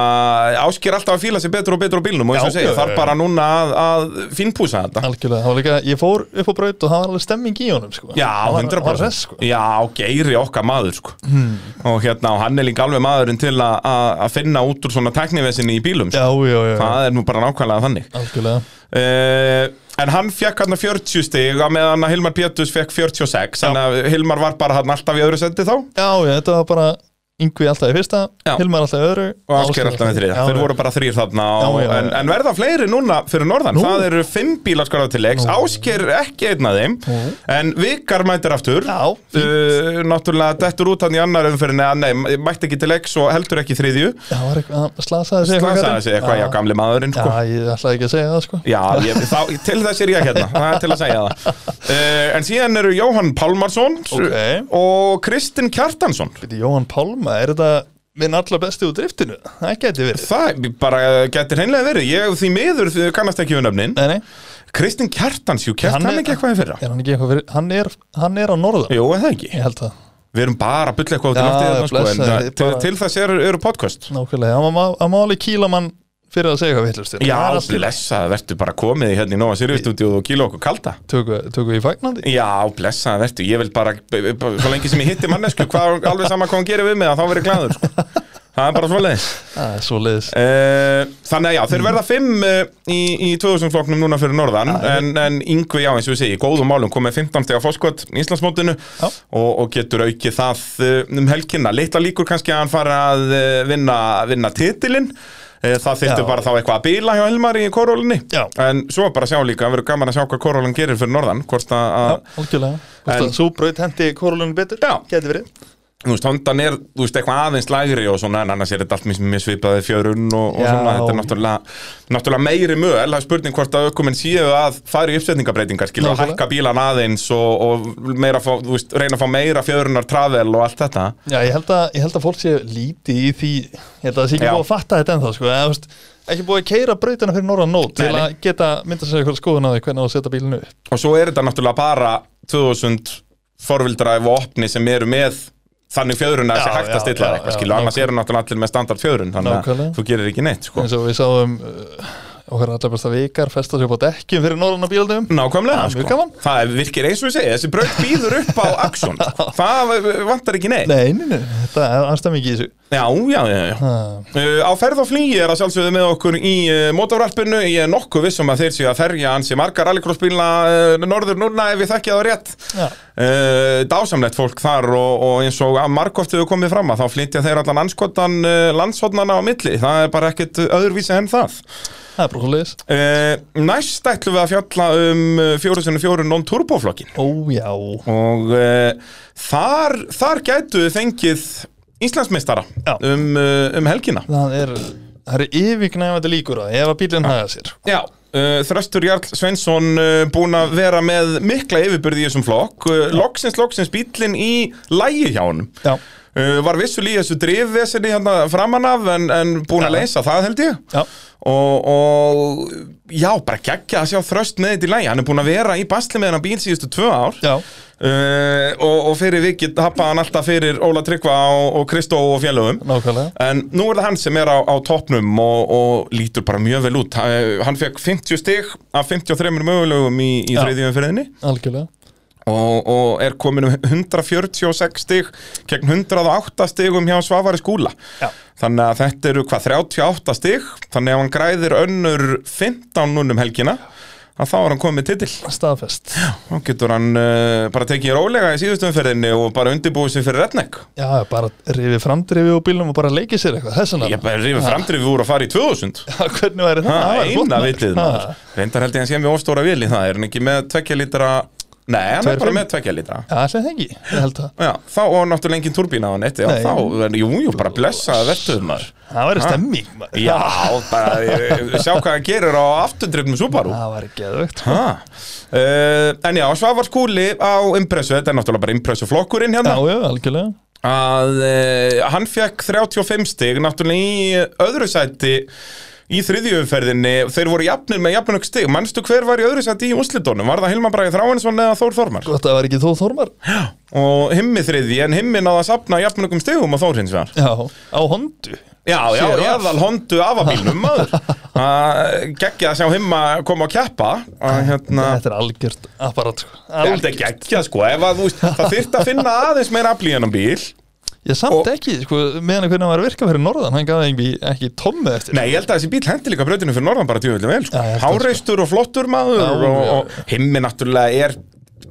[SPEAKER 1] ásker alltaf að fíla sig betur og betur á bílnum og eins og
[SPEAKER 2] Já,
[SPEAKER 1] segja,
[SPEAKER 2] já,
[SPEAKER 1] þarf
[SPEAKER 2] já.
[SPEAKER 1] bara núna að, að finnpúsa þetta
[SPEAKER 2] Algjörlega, það var líka, ég fór upp á braut og það var alveg stemming í honum sko.
[SPEAKER 1] Já,
[SPEAKER 2] Hann var,
[SPEAKER 1] 100%
[SPEAKER 2] hann var hress, sko. Hmm.
[SPEAKER 1] Já, geiri okkar maður sko. og hérna, og hann er líka alveg maðurinn til að- að að finna út úr svona teknivesinni í bílum sko.
[SPEAKER 2] Já, já, já, já.
[SPEAKER 1] það er nú bara nákvæmlega þannig
[SPEAKER 2] algjörlega
[SPEAKER 1] uh, en hann fekk hann 40 stig á meðan að Hilmar Pétus fekk 46 þannig að Hilmar var bara hann alltaf í öðru sendi þá
[SPEAKER 2] Já, já, þetta var bara yngvi alltaf í fyrsta,
[SPEAKER 1] Já.
[SPEAKER 2] Hilmar alltaf í öðru
[SPEAKER 1] og Ásker alltaf með þriða,
[SPEAKER 2] Já,
[SPEAKER 1] þeir
[SPEAKER 2] já.
[SPEAKER 1] voru bara þrýr þarna
[SPEAKER 2] Já,
[SPEAKER 1] og,
[SPEAKER 2] já, já.
[SPEAKER 1] en, en verða fleiri núna fyrir norðan,
[SPEAKER 2] Nú.
[SPEAKER 1] það eru fimm bílar skarða til leiks, Ásker ekki einn af þeim
[SPEAKER 2] Nú.
[SPEAKER 1] en Vikar mætir aftur
[SPEAKER 2] Já, fínt.
[SPEAKER 1] uh, náttúrulega dettur út hann í annar umfyrinni að nei, mætti ekki til leiks og heldur ekki í þriðju
[SPEAKER 2] Það var eitthvað, hann slasaði sig
[SPEAKER 1] það sagði
[SPEAKER 2] Katrín?
[SPEAKER 1] sig eitthvað, já, gamli maðurinn sko.
[SPEAKER 2] Já, ég ætlaði ekki að segja það, sko
[SPEAKER 1] Já, ég, þá, til þess er ég
[SPEAKER 2] [laughs]
[SPEAKER 1] hérna, það er til að segja það uh, En síðan eru Jóhann Pálmarsson
[SPEAKER 2] Ok.
[SPEAKER 1] og Kristinn Kjartansson
[SPEAKER 2] Býtti, Jóhann Pálma, er þetta minn allar besti úr driftinu? Það geti verið
[SPEAKER 1] Það bara getur hreinlega verið, ég því miður því kannast ekki við nöfnin
[SPEAKER 2] Nei, nei,
[SPEAKER 1] Kristinn Kjartans, jú, kert
[SPEAKER 2] Hann
[SPEAKER 1] hann,
[SPEAKER 2] er-
[SPEAKER 1] ekki eitthvað í fyrra?
[SPEAKER 2] er hann ekki eitthvað fyrir Hann er, hann er á norðan
[SPEAKER 1] Jú, eða ekki.
[SPEAKER 2] Ég held það,
[SPEAKER 1] Við erum bara að bylla eitthvað út í
[SPEAKER 2] Já,
[SPEAKER 1] loftið þarna, sko, en
[SPEAKER 2] blessaður,
[SPEAKER 1] það-
[SPEAKER 2] þið
[SPEAKER 1] til,
[SPEAKER 2] bara-
[SPEAKER 1] til þess er, eru podcast.
[SPEAKER 2] nákvæmlega Hann má- hann má alveg kýla mann fyrir að segja hérna. hvað vittlust
[SPEAKER 1] Já, blessa, verður bara komið í hérna í Nóa Sirius-stúdíu og kýla okkur kalda
[SPEAKER 2] tökum, tökum við í fagnandi
[SPEAKER 1] Já, blessa, verður, ég vil bara b- b- b- svo lengi sem ég hitti mannesku, hvað, alveg sama hvað hann gerir við mig þá verður ég glæður,
[SPEAKER 2] [laughs]
[SPEAKER 1] sko Það er bara svoleiðis
[SPEAKER 2] það er svo leiðis
[SPEAKER 1] Eh, Þannig að já, þeir verða fimm eh, í, í 2000 flokknum núna fyrir norðan en, en yngvi, já, eins og við segi, í góðum málum komið 15 steg á fóskot í Íslandsmótinu
[SPEAKER 2] Já.
[SPEAKER 1] og, og getur aukið það eh, um helgina, litla líkur kannski að hann fara að eh, vinna, vinna titilinn Eh, Það þyrfti
[SPEAKER 2] Já.
[SPEAKER 1] bara þá eitthvað að bila hjá Helmar í korólinni
[SPEAKER 2] Já.
[SPEAKER 1] En svo bara sjá líka, það verður gaman að sjá hvað korólin gerir fyrir norðan Hvort að,
[SPEAKER 2] Já,
[SPEAKER 1] að
[SPEAKER 2] algjörlega Hvort
[SPEAKER 1] En-
[SPEAKER 2] að Sú braut hendi korulunum betur
[SPEAKER 1] Já.
[SPEAKER 2] Geti verið
[SPEAKER 1] þú veist, hondan er, þú veist, eitthvað aðeins lægri og svona, en annars er þetta allt mjög- mjög svipaði fjörun og, og
[SPEAKER 2] Já.
[SPEAKER 1] svona, þetta er náttúrulega, náttúrulega meiri mög, það er spurning hvort að ökuminn séu að fara í uppsetningabreitingar, skilja,
[SPEAKER 2] Nákvæmlega.
[SPEAKER 1] hækka bílan aðeins og, og meira fá, þú veist, reyna að fá meira fjörunar travel og allt þetta.
[SPEAKER 2] Já, ég held að, ég held að fólk sé lítið í því Ég held að það sé ekki
[SPEAKER 1] Já.
[SPEAKER 2] búið að fatta þetta ennþá sko, eða, þú veist, Ekki búið að keira brautina fyrir norðan nót Til
[SPEAKER 1] Nei, nei.
[SPEAKER 2] að geta mynda sér eitthvað skoðun á því Hvernig á að setja bílinu upp
[SPEAKER 1] Og svo er þetta náttúrulega bara 2000 forvildræf og opni sem eru með þannig fjörun að
[SPEAKER 2] Já,
[SPEAKER 1] þessi hægt að
[SPEAKER 2] já,
[SPEAKER 1] stilla
[SPEAKER 2] já,
[SPEAKER 1] eitthvað,
[SPEAKER 2] já,
[SPEAKER 1] skilja, annars eru náttúrulega allir með standard fjörun, þannig að
[SPEAKER 2] Nákvæmlega.
[SPEAKER 1] þú gerir ekki neitt, sko.
[SPEAKER 2] eins og við sáum uh, okkar allar besta vikar festa sér upp á dekkjum fyrir norðan á bílunum
[SPEAKER 1] Nákvæmlega, sko.
[SPEAKER 2] Já, mjög gaman.
[SPEAKER 1] það er- virkir eins og ég segi, þessi braut býður upp á
[SPEAKER 2] [laughs]
[SPEAKER 1] Axon, það vantar ekki neitt
[SPEAKER 2] Nei, nei, nei, þetta er aðstæmi ekki í þessu
[SPEAKER 1] Já, já, já, já.
[SPEAKER 2] Ha.
[SPEAKER 1] Uh, á ferð og flýi er að sjálfsögðu með okkur í uh, mótavrarpinu, ég er nokkuð vissum að þeir séu að ferja ansi margar rallycrossbíla uh, norður núna ef ég þekkja það rétt
[SPEAKER 2] Já.
[SPEAKER 1] uh, dásamlegt fólk þar og, og eins og að margóft hefur komið fram að þá flytja þeir allan anskotan uh, landshotnana á milli, það er bara ekkert öðruvísi en það
[SPEAKER 2] Það er brúkulegis
[SPEAKER 1] uh, Næst ætlum við að fjalla um uh, 4x4 non-turboflokkin
[SPEAKER 2] Ó, já
[SPEAKER 1] og uh, þar, þar gætu þið fengið Íslandsmeistara
[SPEAKER 2] Já.
[SPEAKER 1] um, uh, um helgina
[SPEAKER 2] Það er, það er yfirgnæfandi líkur að ef að bílinn haga sér
[SPEAKER 1] Já, uh, Þröstur Jarl Sveinsson uh, búin að vera með mikla yfirbyrði í þessum flokk uh, loksins, loksins bíllinn í lægi hjá honum
[SPEAKER 2] Já,
[SPEAKER 1] uh, var vissulega í þessu drifvesinni hérna framan af en, en búin að
[SPEAKER 2] Já.
[SPEAKER 1] leysa það held ég
[SPEAKER 2] já,
[SPEAKER 1] og, og já, bara geggja að sjá þröst með þetta í lægi hann er búin að vera í basli með hennar bíl síðustu tvö ár
[SPEAKER 2] já
[SPEAKER 1] Uh, og, og fyrir vikið happaði hann alltaf fyrir Óla Tryggva og, og Kristó og félögum
[SPEAKER 2] Nákvæmlega
[SPEAKER 1] en nú er það hann sem er á, á topnum og, og lítur bara mjög vel út Ha- hann fekk 50 stig af 53 mögulegum í, í
[SPEAKER 2] Já.
[SPEAKER 1] þriðjum fyrirðinni
[SPEAKER 2] Algjörlega
[SPEAKER 1] og, og er komin um 146 stig gegn 108 stigum hjá Svavari Skúla
[SPEAKER 2] Já.
[SPEAKER 1] þannig að þetta eru hvað 38 stig þannig að ef hann græðir önnur 15 núnum helgina að þá er hann komið titill
[SPEAKER 2] Staðfest
[SPEAKER 1] Þá getur hann uh, bara tekið rólega í síðustu umferðinni og bara undirbúið sér fyrir redneck.
[SPEAKER 2] Já, bara rifið framdrifið úr bílnum og bara leikið sér eitthvað Þessan [laughs]
[SPEAKER 1] Ég bara rifið framdrifið úr að fara í 2000.
[SPEAKER 2] Hvernig væri það?
[SPEAKER 1] Ha,
[SPEAKER 2] Það væri flott,
[SPEAKER 1] eina
[SPEAKER 2] maður.
[SPEAKER 1] vitið maður.
[SPEAKER 2] Ha.
[SPEAKER 1] Reyndar held ég að sé mjög ofstóra vil í það. Er hann ekki með tvekja litra? Nei, hann
[SPEAKER 2] Tveir
[SPEAKER 1] er bara
[SPEAKER 2] fimm.
[SPEAKER 1] með tvekja litra.
[SPEAKER 2] Já, allir þengi, ég held það
[SPEAKER 1] Já, þá og náttúrulega engin turbína á hann eitt. Já,
[SPEAKER 2] Nei.
[SPEAKER 1] þá, en jú, jú, bara blessa verðtöðum maður.
[SPEAKER 2] Það væri stemming maður.
[SPEAKER 1] Já,
[SPEAKER 2] [laughs]
[SPEAKER 1] bara eh, sjá hvað hann gerir á afturdrifnum Subaru.
[SPEAKER 2] Það væri geðvögt
[SPEAKER 1] Ha. Uh, en já, Svavar Skúli á impressu, þetta er náttúrulega bara impressu flokkurinn hérna
[SPEAKER 2] Já, já, algjörlega
[SPEAKER 1] að uh, hann fekk 35 stig náttúrulega í öðru sæti í þriðjöfumferðinni þeir voru jafnir með jafnug stig mannstu hver var í öðru sæti í úslitónum var það Hilma Bragi Þráinsson eða Þór Þormar
[SPEAKER 2] Gott að það væri ekki þó Þormar
[SPEAKER 1] og himmi þriði en himmi náða að sapna jafnugum stigum og Þór hins vegar
[SPEAKER 2] Já, á hondu
[SPEAKER 1] já, já,
[SPEAKER 2] Sér af.
[SPEAKER 1] eðal hondu afabílnum maður að geggja að sjá himma koma og keppa að hérna
[SPEAKER 2] Þetta er algjört apparat sko.
[SPEAKER 1] Þetta er geggja sko, ef að þú veist, það þyrfti að finna aðeins meira afl í hennan bíl
[SPEAKER 2] Ég samt
[SPEAKER 1] Og-
[SPEAKER 2] ekki, sko, meðan hvernig hann var að virka fyrir norðan Hann gaf ekki, ekki tommu eftir
[SPEAKER 1] Nei, ég held að þessi bíl hendi líka brautinu fyrir norðan bara tjóðvill vel, sko.
[SPEAKER 2] Já, ég held það,
[SPEAKER 1] Háreistur og flottur maður
[SPEAKER 2] Já,
[SPEAKER 1] og,
[SPEAKER 2] já.
[SPEAKER 1] og himmi náttúrulega er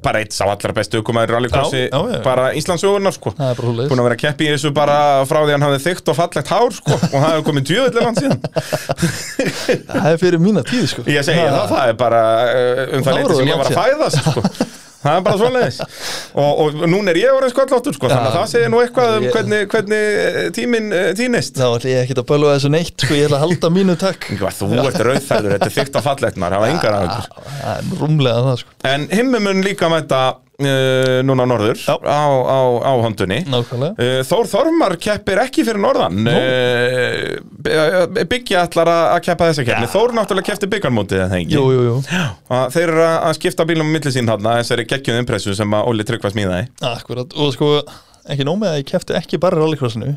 [SPEAKER 1] bara eitt sá allra bestu aukumæður rallycrossi,
[SPEAKER 2] Já, já, já.
[SPEAKER 1] bara Íslandsögunar, sko.
[SPEAKER 2] Það er bara
[SPEAKER 1] Búin
[SPEAKER 2] húleis
[SPEAKER 1] að vera að keppi í þessu bara frá því hann hafði þykkt og fallegt hár,
[SPEAKER 2] [laughs]
[SPEAKER 1] sko, og það hefur komið tjóðvill langt síðan.
[SPEAKER 2] Það er fyrir mína tíð, sko
[SPEAKER 1] Ég segi það, það er bara uh, um
[SPEAKER 2] Það
[SPEAKER 1] það leyti
[SPEAKER 2] voru
[SPEAKER 1] sem ég var að fæðast, sko. Það er bara svoleiðis
[SPEAKER 2] [laughs]
[SPEAKER 1] og, og núna er ég orðin skolláttur sko, þannig að
[SPEAKER 2] Já.
[SPEAKER 1] það segir nú eitthvað um
[SPEAKER 2] Ég-
[SPEAKER 1] hvernig, hvernig tíminn eh, týnist
[SPEAKER 2] Þá ætlum ég ekki að bölva þessu neitt sko, ég ætla að halda mínu takk
[SPEAKER 1] [laughs] Ingvar, Þú ert rauðferður, þetta er þykkt og fallegt maður, hafa engar aðeins
[SPEAKER 2] Já, Það er rúmlega það sko
[SPEAKER 1] En himmi mun líka mæta uh, núna á norður
[SPEAKER 2] Já.
[SPEAKER 1] á, á, á hondunni
[SPEAKER 2] Nákvæmlega
[SPEAKER 1] uh, Þór Þormar keppir ekki fyrir norðan uh, Byggja ætlar að að keppa þessa keppni Þór náttúrulega keppti byggjarmótið það ekki
[SPEAKER 2] Jú, jú, jú,
[SPEAKER 1] Að Þeir eru að að skipta bílum á milli sín þarna þessari geggjöð impressu sem að Óli Tryggva smíðaði
[SPEAKER 2] akkurat Og sko, ekki nóg með að ég kefti ekki bara í rallycrossinu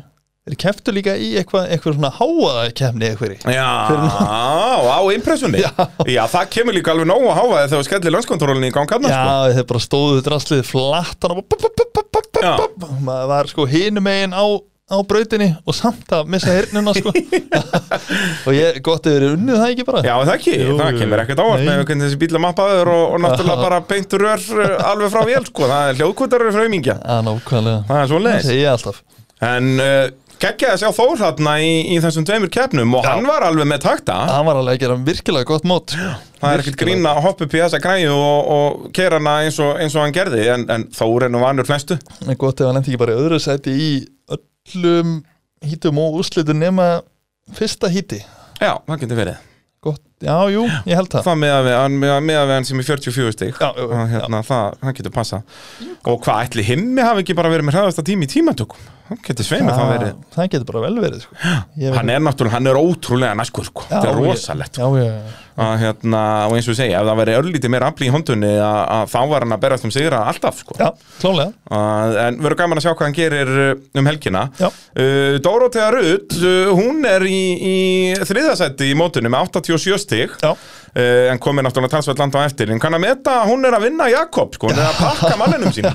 [SPEAKER 2] þeir keftu líka í eitthvað, eitthvað svona háaða kemni eitthvað
[SPEAKER 1] Já, á impressunni Já.
[SPEAKER 2] Já.
[SPEAKER 1] það kemur líka alveg nógu að háfa þegar þú skellir lönskontrólinni í gang hann sko.
[SPEAKER 2] Já, þeir bara stóðu draslið flattan og bara bup, bup, bup, bup, bup,
[SPEAKER 1] Já.
[SPEAKER 2] bup. maður var sko hinum megin á, á brautinni og samt að missa hernuna
[SPEAKER 1] [laughs]
[SPEAKER 2] sko og ég gott hefur verið unnið það ekki bara
[SPEAKER 1] Já, er það ekki,
[SPEAKER 2] Jú,
[SPEAKER 1] það
[SPEAKER 2] jú.
[SPEAKER 1] kemur ekkert ávart
[SPEAKER 2] Nei.
[SPEAKER 1] með hvernig þessi bíla mappaður og, og náttúrulega bara beintur rör uh, alveg frá vél, sko, það er hljóðkvötarur fraumingja,
[SPEAKER 2] að nákvæmlega
[SPEAKER 1] það er svo
[SPEAKER 2] það
[SPEAKER 1] leiðis
[SPEAKER 2] segi ég alltaf
[SPEAKER 1] En uh, geggjaði að sjá Þór þarna í, í þessum tveimur keppnum og hann var alveg með takta
[SPEAKER 2] hann var alveg að gera virkilega gott mót sko.
[SPEAKER 1] Það er ekkert grín að hoppa upp í þessa græðu og, og keira hana eins og, eins og hann gerði en, en Þór er nú vanur flestu
[SPEAKER 2] Það er gott ef hann endi ekki bara í öðru sæti í öllum hítum og úrslitum nema fyrsta híti
[SPEAKER 1] Já, það getur verið
[SPEAKER 2] gott, já, jú, ég held það
[SPEAKER 1] Það meða við, hann- meða, meða við hann sem er 44 stig
[SPEAKER 2] Já, jú,
[SPEAKER 1] og hérna, það, það getur passa Og hvað ætli himmi hafi ekki bara verið með hraðasta tími í tímatökum Hann getur sveimur það verið
[SPEAKER 2] það getur bara vel verið sko. Ég veit-
[SPEAKER 1] Hann er náttúrulega, hann er ótrúlega næskur sko.
[SPEAKER 2] Já,
[SPEAKER 1] Það er
[SPEAKER 2] ég-
[SPEAKER 1] rosalegt
[SPEAKER 2] já, já, já.
[SPEAKER 1] að, hérna, Og eins og ég segja, ef það væri örlítið meira afli í hondunni að, að þá var hann að berast um sigra alltaf sko.
[SPEAKER 2] já, klálega
[SPEAKER 1] að, En verður gaman að sjá hvað hann gerir uh, um helgina
[SPEAKER 2] Já.
[SPEAKER 1] uh, Dórótea Rutt, uh, hún er í, í þriðasætti í mótunum með 87 stig
[SPEAKER 2] Já,
[SPEAKER 1] Uh, en komið náttúrulega talsveit land á eftir en kann að meta, hún er að vinna Jakob sko, hún er að pakka manninum sín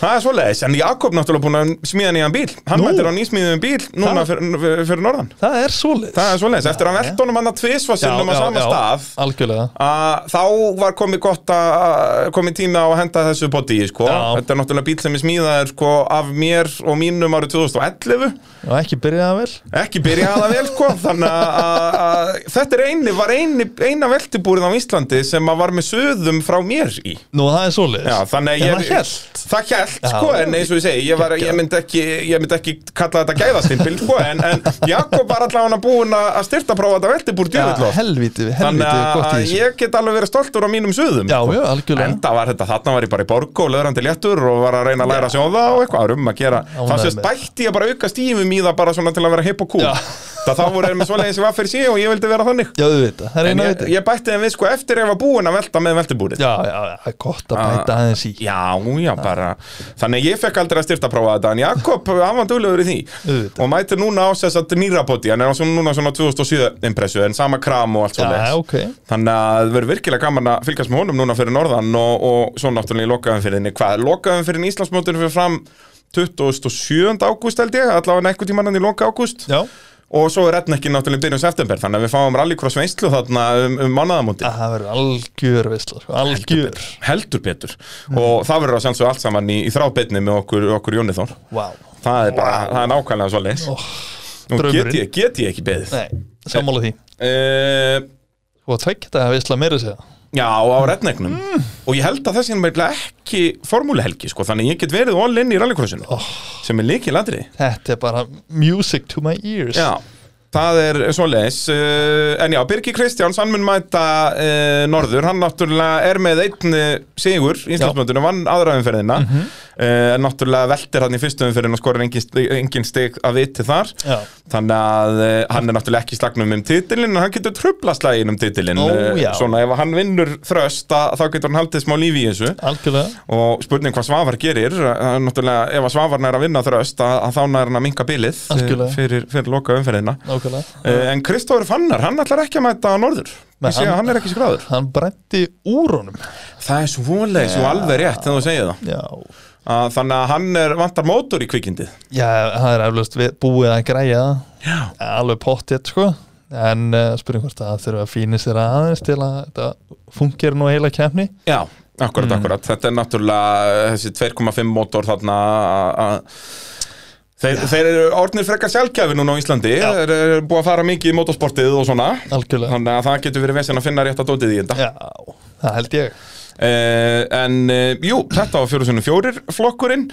[SPEAKER 1] það er svoleiðis, en Jakob náttúrulega búin að smíða nýjan bíl, hann
[SPEAKER 2] Nú.
[SPEAKER 1] mætir á nýsmíðum bíl núna
[SPEAKER 2] Það-
[SPEAKER 1] fyrir, fyrir norðan
[SPEAKER 2] það er svoleiðis
[SPEAKER 1] það er svoleiðis, eftir að velta honum hann að tvisva sinnum á sama stað
[SPEAKER 2] Algjörlega
[SPEAKER 1] að þá var komið gott að komið tími á að henda þessu bóti sko.
[SPEAKER 2] Já.
[SPEAKER 1] þetta er náttúrulega bíl sem er smíðaður sko, af mér og mínum árið 2011
[SPEAKER 2] Já, ekki byrjaði vel
[SPEAKER 1] ekki byrjaði það vel
[SPEAKER 2] [laughs]
[SPEAKER 1] sko. þannig að- að að þetta er eini, var eini, eina veltibúrið á Íslandi sem að var með söðum frá mér í
[SPEAKER 2] Nú, það er svoleiðis
[SPEAKER 1] Já, þannig
[SPEAKER 2] En
[SPEAKER 1] að
[SPEAKER 2] það hélt.
[SPEAKER 1] Það hélt,
[SPEAKER 2] Já.
[SPEAKER 1] sko, en eins og ég segi, ég, var, ég, myndi, ekki, ég myndi ekki kalla þetta gæðastimbil, sko, en, en Jakob var allavega búin að að styrta prófa þetta veltibúr
[SPEAKER 2] Já,
[SPEAKER 1] djöðutlóft.
[SPEAKER 2] helviti, helviti
[SPEAKER 1] Þannig
[SPEAKER 2] gott í
[SPEAKER 1] að
[SPEAKER 2] þessu
[SPEAKER 1] ég get alveg verið stoltur á mínum söðum.
[SPEAKER 2] Já, já, algjörlega
[SPEAKER 1] Enda var þetta, þarna var ég bara í borgu og löðrandi léttur og var að reyna að læra að sjóða og eitthvað var um að gera.
[SPEAKER 2] Ánægður
[SPEAKER 1] Það sést
[SPEAKER 2] með.
[SPEAKER 1] bætti ég bara auka stífum í það bara svona til að vera hipp og cool.
[SPEAKER 2] Já.
[SPEAKER 1] Það þá voru þeir með svoleiðis í vaffir síðan og ég vildi vera þannig.
[SPEAKER 2] Já, þú veit það, það er
[SPEAKER 1] En
[SPEAKER 2] eina
[SPEAKER 1] ég,
[SPEAKER 2] veit
[SPEAKER 1] ég bætti þeim við sko eftir ég var búin að velta með veltibúrið.
[SPEAKER 2] Já, já, já, það er gott að bæta aðeins í
[SPEAKER 1] Já, já, bara Þannig að ég fekk aldrei að styrta prófa þetta En Jakob, hann var duglegur í því
[SPEAKER 2] Auðvitað.
[SPEAKER 1] Og mætir núna á þess að nýrapoti Hann er á svona, núna svona 2007 impressu En sama kram og allt svo
[SPEAKER 2] Já, ok
[SPEAKER 1] Þannig að það verður virkilega gaman að fylgjast með honum núna fyrir norðan og, og svo náttúrulega í lokaðumfyrinni. Hvað, lokaðumfyrinni Íslandsmótinu fyrir fram 27. ágúst held ég, allavega eitthvað tímann í loka ágúst
[SPEAKER 2] Já,
[SPEAKER 1] og svo er Rednekkin náttúrulega í byrjun september þannig að við fáum rallycross veistlu þarna um, um mánadamóti.
[SPEAKER 2] að það verður algjör veistla sko. Algjör
[SPEAKER 1] Heldur betur
[SPEAKER 2] Mm.
[SPEAKER 1] og það verður að sjálfsög allt saman í, í þrábeinni með okkur, okkur Jóni Þór.
[SPEAKER 2] Vá
[SPEAKER 1] Það er bara, það er nákvæmlega svoleiðis.
[SPEAKER 2] Óh,
[SPEAKER 1] Nú get
[SPEAKER 2] Oh, draumurinn.
[SPEAKER 1] ég, get ég ekki beðið.
[SPEAKER 2] Nei, sammála því
[SPEAKER 1] Uh,
[SPEAKER 2] Þú var tveggja þetta að veistla meira sér
[SPEAKER 1] Já, á rednegnum Og ég held að þessi er meðlega ekki formúlehelgi sko, Þannig að ég get verið all in í rallycrossinu Sem er líkil aðri
[SPEAKER 2] Þetta er bara music to my ears
[SPEAKER 1] Já, það er svoleiðis uh, En já, Birgi Kristjáns, hann mun mæta uh, Norður, hann náttúrulega er með einn uh, sigur í Íslandsmöndunum vann aðraðumferðina mm -hmm. En náttúrulega veltir hann í fyrstumferðin og skorar engin, stig- engin stig að viti þar
[SPEAKER 2] Já.
[SPEAKER 1] Þannig að uh, hann er náttúrulega ekki í slagnum um titilin En hann getur trubla slagin um titilin
[SPEAKER 2] Ó,
[SPEAKER 1] uh,
[SPEAKER 2] já.
[SPEAKER 1] Svona ef hann vinnur þröst að, þá getur hann haldið smá lífi í þessu
[SPEAKER 2] Algjörlega
[SPEAKER 1] og spurning hvað Svavar gerir það er náttúrulega ef að Svavar nær að vinna þröst að, að þá nær hann að minka bilið eh,
[SPEAKER 2] Algjörlega.
[SPEAKER 1] fyrir, fyrir loka umferðina
[SPEAKER 2] Nákvæmlega
[SPEAKER 1] Eh, en Kristófur Fannar, hann ætlar ekki að mæta á norður
[SPEAKER 2] Nei,
[SPEAKER 1] ég sé að
[SPEAKER 2] hann-
[SPEAKER 1] hann er ekki skráður
[SPEAKER 2] Hann brendi úr honum
[SPEAKER 1] það er svoleiðis og alveg rétt þegar þú segir það
[SPEAKER 2] Já
[SPEAKER 1] að, þannig að hann er, vantar mótor í kvikindið
[SPEAKER 2] Já, það er eflaust við- búið að græja það
[SPEAKER 1] já,
[SPEAKER 2] alveg pottjett sko en uh, spurning hvort að það þurfa að fíni sér aðeins til að þetta fungir nú heila kefni
[SPEAKER 1] já akkurat,
[SPEAKER 2] Mm.
[SPEAKER 1] akkurat, þetta er náttúrulega eh, þessi 2,5 mótor þarna að- að Þeir, þeir eru orðnir frekar sjálfgæfi núna á Íslandi,
[SPEAKER 2] Já.
[SPEAKER 1] þeir eru búið að fara mikið í motorsportið og svona,
[SPEAKER 2] algjörlega
[SPEAKER 1] þannig að það getur verið vesinn að finna rétt að dótið í þetta.
[SPEAKER 2] Já, það held ég
[SPEAKER 1] Uh, en uh, jú, þetta var fjóru sinni fjórir flokkurinn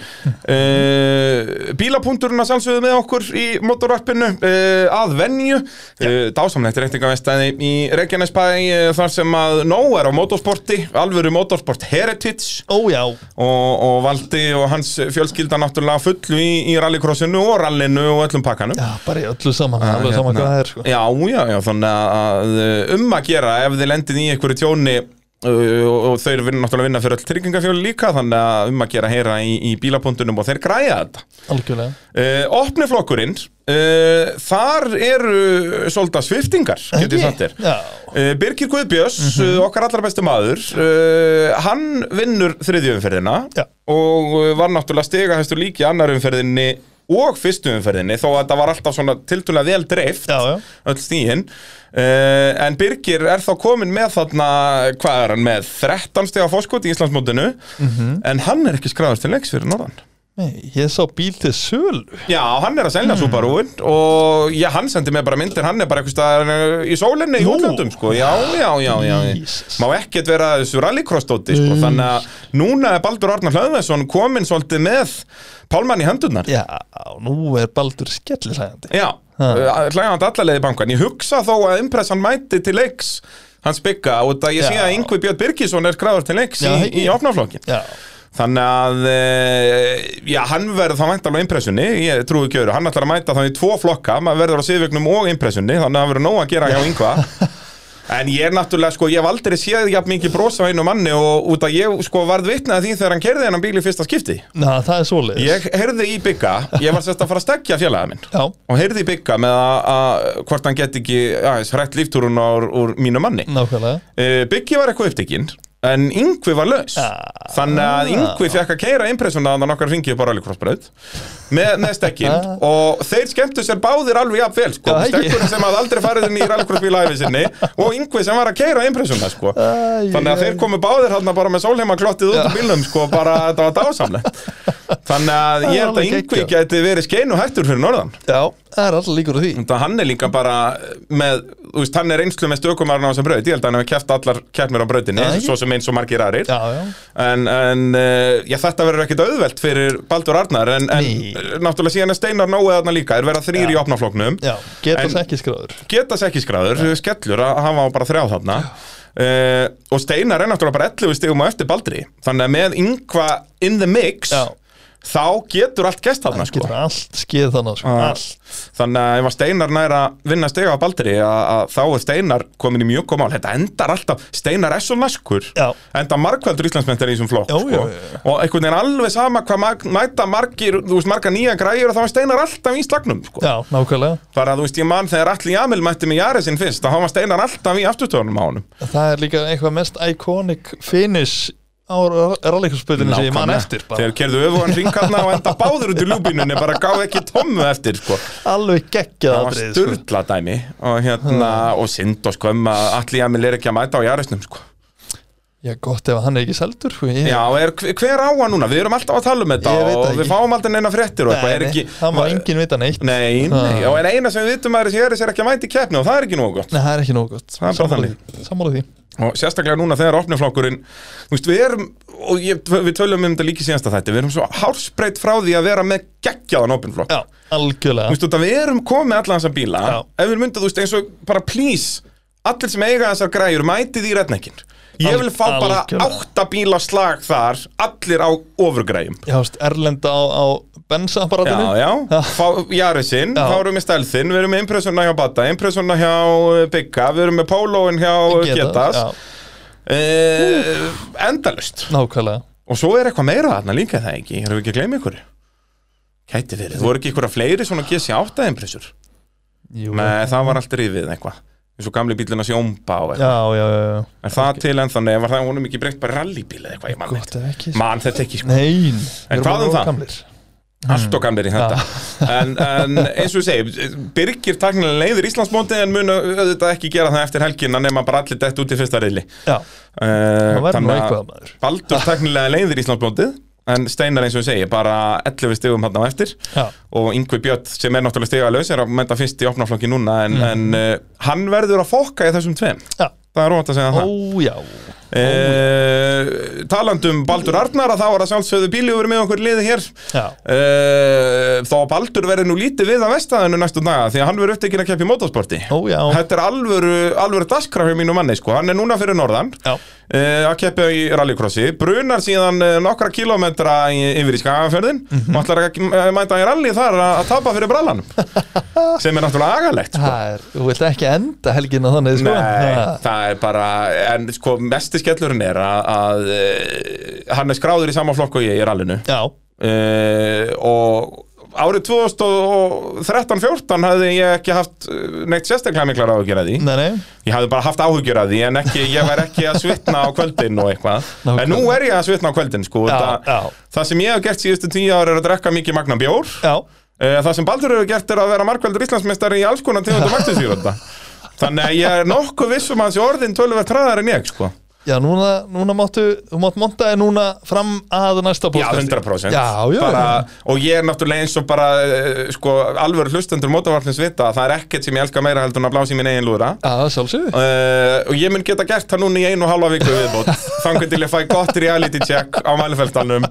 [SPEAKER 1] uh, Bílapunkturinn að sjálfsögðu með okkur í motorvarpinu uh, að venju uh, Dásamlegt reytingarvestæði í Reykjanesbæ uh, þar sem að nóg er á motorsporti alvöru motorsport heritage
[SPEAKER 2] Ó já,
[SPEAKER 1] og, og Valdi og hans fjölskylda náttúrulega fullu í, í rallycrossinu og rallinu og öllum pakkanum
[SPEAKER 2] já bara í öllu saman alveg saman hvað það er sko
[SPEAKER 1] uh, Já, já, já, þannig að um að gera ef þið lendið í einhverju tjóni Uh, og og þau eru vin- náttúrulega að vinna fyrir öll tryggingafjóli líka þannig að um að gera heyra í, í bílapunktunum og þeir græja þetta
[SPEAKER 2] algjörlega
[SPEAKER 1] uh, opni flokkurinn uh, þar eru svolítið sviftingar get ég sagt þér
[SPEAKER 2] Já,
[SPEAKER 1] uh, Birgir Guðbjörns, uh, okkar allra bestu maður uh, hann vinnur þriðjumferðina
[SPEAKER 2] Já.
[SPEAKER 1] og uh, var náttúrulega stigahæstur líki annarumferðinni og fyrstumferðinni þó að þetta var alltaf svona tiltúlega vel dreift
[SPEAKER 2] já, já
[SPEAKER 1] öll stíðin uh, en Birgir er þá komin með þarna, hvað er hann með 13 stiga fórskot í Íslandsmótinu en hann er ekki skráður til leiks fyrir norðan
[SPEAKER 2] Nei, ég sá bíl til sölu
[SPEAKER 1] já, hann er að selja mm. Subaruin og já, hann sendi mig bara myndir, hann er bara eitthvað staðar, eh, í sólinni í
[SPEAKER 2] Nú.
[SPEAKER 1] útlöndum sko. já, já, já, já,
[SPEAKER 2] Jesus.
[SPEAKER 1] má ekkert vera þessu rallycross-dóti sko.
[SPEAKER 2] Mm.
[SPEAKER 1] þannig að núna er Baldur Arnar Hlöðvesson komin svolítið með Pálmann í hendunar
[SPEAKER 2] Já, nú er Baldur skellisægandi
[SPEAKER 1] Já,
[SPEAKER 2] Ha.
[SPEAKER 1] hlægand allarleiði bankan Ég hugsa þó að impressan mæti til leiks hans bygga og það ég sé
[SPEAKER 2] Já.
[SPEAKER 1] að Yngvi Björn Birgisson er skráður til leiks
[SPEAKER 2] Já,
[SPEAKER 1] í, í
[SPEAKER 2] hei.
[SPEAKER 1] opnaflokkin
[SPEAKER 2] Já,
[SPEAKER 1] þannig að e, já, hann verður þá mænt alveg impressunni ég trúi ekki öðru, hann ætlar að mæta þá í tvo flokka maður verður á síðvegnum og impressunni þannig að hann verður nóg að gera hjá Yngva en ég er náttúrulega, sko, ég hef aldrei séð jafn mikið brosa á einu manni og út að ég sko varð vitnað því þegar hann kerði hennan bíl í fyrsta skipti
[SPEAKER 2] Na, það er svoleiðis
[SPEAKER 1] ég heyrði í bygga, ég var sérst að fara að stekja fjölaða minn
[SPEAKER 2] Já,
[SPEAKER 1] og heyrði í bygga með að- að hvort hann get ekki aðeins hrætt líftúrun úr, úr mínu manni
[SPEAKER 2] nákvæmlega
[SPEAKER 1] uh, Byggi var eitthvað upptekinn en yngvi var laus
[SPEAKER 2] Ah.
[SPEAKER 1] þannig að yngvi fekk að keira impressuna þannig að nokkar ringi upp á rallycrossbröð með, með stekkinn og þeir skemmtu sér báðir alveg jafn vel sko.
[SPEAKER 2] Já, Ah. ekki.
[SPEAKER 1] stekkurinn sem hafði aldrei farið inn í rallycrossbíla æfi sinni og yngvi sem var að keira impressuna sko.
[SPEAKER 2] Æ,
[SPEAKER 1] þannig að
[SPEAKER 2] æ.
[SPEAKER 1] þeir komu báðir hann bara með sólheimaklottið út úr
[SPEAKER 2] Ah.
[SPEAKER 1] bílnum sko, bara þetta var
[SPEAKER 2] [laughs]
[SPEAKER 1] dásamlegt þannig að
[SPEAKER 2] Það
[SPEAKER 1] ég
[SPEAKER 2] er
[SPEAKER 1] held að
[SPEAKER 2] Ah, alveg
[SPEAKER 1] yngvi
[SPEAKER 2] geggjað.
[SPEAKER 1] gæti verið skeinu hættur fyrir norðan
[SPEAKER 2] Já, það er alltaf líkur á því
[SPEAKER 1] Þetta hann er líka bara með, þú veist, hann er einslu með stökumarinn á þessum braut, ég held að hann hefur kæft allar kæftmir á brautinni,
[SPEAKER 2] Já, ekki?
[SPEAKER 1] svo sem eins og margir aðrir.
[SPEAKER 2] Já, já,
[SPEAKER 1] En, en uh, já, þetta verður ekkit auðvelt fyrir Baldur Arnar, en, en
[SPEAKER 2] Nei.
[SPEAKER 1] náttúrulega síðan er Steinar Nói þarna líka, er verða þrýr í opnafloknum,
[SPEAKER 2] já, geta
[SPEAKER 1] En-
[SPEAKER 2] þess ekki skráður
[SPEAKER 1] geta sekkisgráður, skellur að hann var bara þrjá þarna. Uh, og Steinar er náttúrulega bara 11 stigum á eftir Baldri, þannig að með yngva in the mix,
[SPEAKER 2] Já.
[SPEAKER 1] þá getur allt gest þarna, sko.
[SPEAKER 2] Getur allt skeð þannig, sko
[SPEAKER 1] Ah.
[SPEAKER 2] Allt
[SPEAKER 1] Þannig að ef að Steinar nær að vinna stega á Baldri að, að þá er Steinar komin í mjög komál Þetta endar alltaf, Steinar er svo naskur
[SPEAKER 2] Já.
[SPEAKER 1] Enda margveldur Íslandsmyndar í þessum flokk
[SPEAKER 2] Já, já,
[SPEAKER 1] Sko. Og einhvern veginn alveg sama hvað mag, mæta margir, þú veist, marga nýja græjur og þá er Steinar alltaf í slagnum sko.
[SPEAKER 2] Já, nákvæmlega
[SPEAKER 1] Bara þú veist, ég man þegar Atli Jamil mætti með Jari sinn fyrst þá var Steinar alltaf í afturtöðunum á honum
[SPEAKER 2] Það er líka eitthvað mest iconic finish á rallykursputinni sem ég man
[SPEAKER 1] Nákvæmlega.
[SPEAKER 2] eftir bara.
[SPEAKER 1] Þegar kerðu öfugan ringarna og enda báður út í ljúbínunni bara gáði ekki tommu eftir sko.
[SPEAKER 2] Alveg geggjað
[SPEAKER 1] það var
[SPEAKER 2] atrið, sko.
[SPEAKER 1] sturla dæmi og hérna, og synd og sko um að allir Jamil er ekki að mæta á jarðisnum sko.
[SPEAKER 2] Já, gott ef hann er ekki seldur sko. ég,
[SPEAKER 1] Já, er, hver á hann núna? Við erum alltaf að tala um þetta
[SPEAKER 2] Ég veit
[SPEAKER 1] og
[SPEAKER 2] það
[SPEAKER 1] við
[SPEAKER 2] ekki.
[SPEAKER 1] fáum aldrei neina fréttir og eitthvað, er
[SPEAKER 2] nei,
[SPEAKER 1] ekki
[SPEAKER 2] Það má enginn vita neitt Nei,
[SPEAKER 1] Nei, nei, og en eina sem við vitum að þessi Jaris er ekki að mæta í keppni og það er ekki nógu gott
[SPEAKER 2] það er ekki nóg gott
[SPEAKER 1] Það er bara
[SPEAKER 2] Sammála því. Sammála því
[SPEAKER 1] og sérstaklega núna þegar opniflokkurinn þú veist, við erum, og ég, við tölum um þetta líki síðansta þætti, við erum svo hársbreytt frá því að vera með geggjaðan opniflokk
[SPEAKER 2] Já, algjörlega
[SPEAKER 1] Þú veist, út að við erum komið með alla þessa bíla
[SPEAKER 2] Já.
[SPEAKER 1] Ef við myndum, þú veist, eins og bara please Allir sem eiga þessar græjur, mætið í rednekkin Ég
[SPEAKER 2] Al-
[SPEAKER 1] vil fá bara
[SPEAKER 2] algjörlega.
[SPEAKER 1] átta bíla slag þar Allir á ofurgræjum
[SPEAKER 2] Já, veist, Erlenda á, á
[SPEAKER 1] Já,
[SPEAKER 2] bensaapparatinu
[SPEAKER 1] já,
[SPEAKER 2] Já.
[SPEAKER 1] fá Jarisinn,
[SPEAKER 2] Já.
[SPEAKER 1] þá erum við stelðinn, við erum með impressuna hjá Bata, impressuna hjá uh, Bigga, við erum með Pólóin hjá uh, Getas,
[SPEAKER 2] já,
[SPEAKER 1] uh, endalust.
[SPEAKER 2] Nákvæmlega
[SPEAKER 1] Og svo er eitthvað meira þarna líka er það ekki, erum við ekki að gleyma ykkur? Kæti verið, þú voru ekki ykkur að fleiri svona GC8 impressur?
[SPEAKER 2] Jú.
[SPEAKER 1] Nei, það var allt rifið eitthvað eins og gamli bílun að sjómba og eitthvað
[SPEAKER 2] Já, já, já, já.
[SPEAKER 1] Er það til ennþá, nei, var það honum ekki breytt bara í rallybíl eða eitthvað, ég man
[SPEAKER 2] Gott
[SPEAKER 1] þetta
[SPEAKER 2] ef ekki sko.
[SPEAKER 1] Man þetta ekki, sko,
[SPEAKER 2] Nein
[SPEAKER 1] En
[SPEAKER 2] við erum
[SPEAKER 1] hvað um
[SPEAKER 2] bara
[SPEAKER 1] það?
[SPEAKER 2] gamlir. Mm.
[SPEAKER 1] allt og gamlir í þetta en, en eins og ég segi Birgir taknilega leiðir Íslandsmóti en mun auðvitað ekki gera það eftir helgina nema bara allir dett út í fyrsta reyli
[SPEAKER 2] Já, það verður nú
[SPEAKER 1] Þannig að
[SPEAKER 2] eitthvað maður
[SPEAKER 1] Baldur taknilega leiðir Íslandsmótið en Steinar eins og ég segi, bara 11 stigum hann á eftir
[SPEAKER 2] Já,
[SPEAKER 1] og Yngvi Björn sem er náttúrulega stigalaus er að menta fyrst í opnaflokki núna
[SPEAKER 2] Mm.
[SPEAKER 1] en, en uh, hann verður að fokka í þessum tveim
[SPEAKER 2] já,
[SPEAKER 1] það er rót að segja
[SPEAKER 2] ó,
[SPEAKER 1] það
[SPEAKER 2] já
[SPEAKER 1] e, talandum Baldur Arnar að þá var að sjálfsögðu bíljúfur með okkur liði hér
[SPEAKER 2] Já,
[SPEAKER 1] e, þá að Baldur verður nú lítið við að vestaðinu næstu daga því að hann verður upptekinn að keppa í motorsporti
[SPEAKER 2] ó, já
[SPEAKER 1] Þetta er alvöru, alvöru daskra hjá mínu manni sko. hann er núna fyrir norðan
[SPEAKER 2] Já,
[SPEAKER 1] e, að keppa í rallycrossi brunar síðan eh, nokkra kilometra í, yfir í skagaferðin mm
[SPEAKER 2] Mhm.
[SPEAKER 1] -hmm. og ætlar að eh, mæta í rally þar að, að tapa fyrir
[SPEAKER 2] [laughs]
[SPEAKER 1] brallanum sem er náttúrulega agalegt sko.
[SPEAKER 2] það er, þú vilt ekki enda helgina þannig sko.
[SPEAKER 1] Nei,
[SPEAKER 2] Ha.
[SPEAKER 1] það það er bara, en sko mesti skellurinn er að, að eh, hann er skráður í sama flokk og ég í rallinu
[SPEAKER 2] Já,
[SPEAKER 1] uh, og árið 2013-14 hafði ég ekki haft eh, neitt sérstaklega miklar áhyggjur að því
[SPEAKER 2] nei, nei
[SPEAKER 1] ég hafði bara haft áhyggjur að því en ekki, ég var ekki að svitna á kvöldin og eitthvað,
[SPEAKER 2] Nákvæmlega.
[SPEAKER 1] en nú er ég að svitna á kvöldin sko,
[SPEAKER 2] Já,
[SPEAKER 1] það,
[SPEAKER 2] já.
[SPEAKER 1] það sem ég hef gert síðustu tíu ára er að drekka mikið magna bjór
[SPEAKER 2] Já,
[SPEAKER 1] Eh, Það sem Baldur hefur gert er að vera markveldur Íslandsmeistari í alls konar tegundum aktusýrönda Þannig að ég er nokkuð vissum að þessi orðin töluvert hraðar en ég sko.
[SPEAKER 2] já, núna, núna máttu Þú mátt monta þig núna fram að næsta
[SPEAKER 1] Já, 100%
[SPEAKER 2] podcasti. Já, já,
[SPEAKER 1] bara,
[SPEAKER 2] já.
[SPEAKER 1] Og ég er náttúrulega eins og bara eh, sko, alvöru hlustendur mótavarnins vita að það er ekkert sem ég elska meira heldur en að blási í mín eigin lúðra
[SPEAKER 2] Já, sjálfsögðu
[SPEAKER 1] Uh, og ég mun geta gert það núna í einu og halva viku viðbót þangur til ég fæ gott reality check á mælufeltanum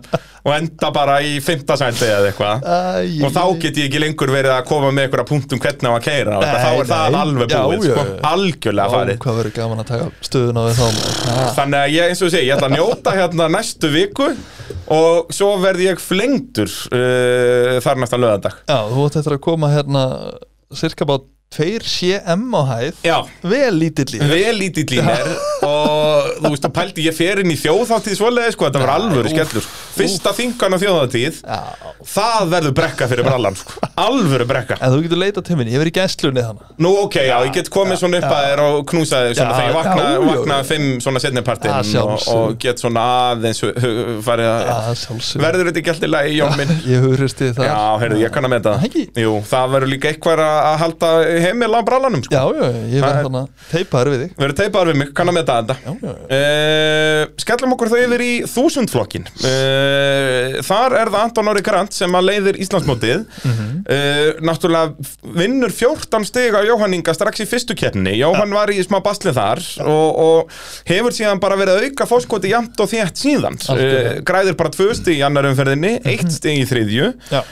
[SPEAKER 1] og enda bara í fymta sændi eða eitthvað
[SPEAKER 2] Ah. Æ,
[SPEAKER 1] og þá
[SPEAKER 2] æ, æ.
[SPEAKER 1] get ég ekki lengur verið að koma með einhverja punktum hvernig á að keira
[SPEAKER 2] Nei,
[SPEAKER 1] þá er það
[SPEAKER 2] nei.
[SPEAKER 1] alveg
[SPEAKER 2] Já,
[SPEAKER 1] búið
[SPEAKER 2] já,
[SPEAKER 1] sko,
[SPEAKER 2] já.
[SPEAKER 1] algjörlega
[SPEAKER 2] Ó,
[SPEAKER 1] farið
[SPEAKER 2] Hvað verður gaman að taka stöðun á því þá Já,
[SPEAKER 1] þannig að ég eins og sé, ég ætla að njóta hérna næstu viku og svo verð ég flengdur uh, þar næsta löðandag
[SPEAKER 2] Já, þú átt eftir að koma hérna cirka bá 2 cm á hæð
[SPEAKER 1] já,
[SPEAKER 2] Vel lítill í
[SPEAKER 1] vel lítill í mér og þú veist, þú pældi ég fer inn í þjóðháttíð svoleiði, sko, þetta var alvöru skellur fyrsta þingan á þjóðháttíð
[SPEAKER 2] Já,
[SPEAKER 1] það verður brekka fyrir brallan, sko, alvöru brekka
[SPEAKER 2] en þú getur leitað til minni, ég verið í gæstlunni þannig
[SPEAKER 1] Nú ok, já, ég get komið svona upp að þér og knúsa þér svona
[SPEAKER 2] Já,
[SPEAKER 1] þegar ég vakna,
[SPEAKER 2] já, já, já.
[SPEAKER 1] vakna fimm svona
[SPEAKER 2] Já,
[SPEAKER 1] setnipartinn og,
[SPEAKER 2] sjálfsögðu.
[SPEAKER 1] og get svona aðeins hu- hu- farið að
[SPEAKER 2] Já, sjálfsögðu.
[SPEAKER 1] verður þetta ekki alltaf lægi, Jón minn
[SPEAKER 2] Ég hugurist þið þar
[SPEAKER 1] Já, heyrðu, ég kann að meta það
[SPEAKER 2] Ekki?
[SPEAKER 1] Jú, það verður líka eitthvað að að halda heimil á brallanum sko.
[SPEAKER 2] Já, já,
[SPEAKER 1] Það
[SPEAKER 2] ég verð
[SPEAKER 1] er-
[SPEAKER 2] þannig að teipaður við þig
[SPEAKER 1] Verður teipaður við mig, kann að meta þetta
[SPEAKER 2] Já, já, já.
[SPEAKER 1] Uh, skellum okkur þau yfir í þúsundflokkin uh, Þar er það Anton Ári Grant sem að leiðir Íslandsmótið
[SPEAKER 2] Mhm.
[SPEAKER 1] uh, Náttúrulega vinnur 14 stiga Jóhanninga strax í fyrstu keppni Jóhann var í smá basli þar og, og hefur síðan bara verið að auka fórskoti jæmt og þétt síðan uh,
[SPEAKER 2] Algjörlega. Mhm.
[SPEAKER 1] Græðir bara tvö stig í annar umferðinni, eitt stig í þriðju
[SPEAKER 2] Já,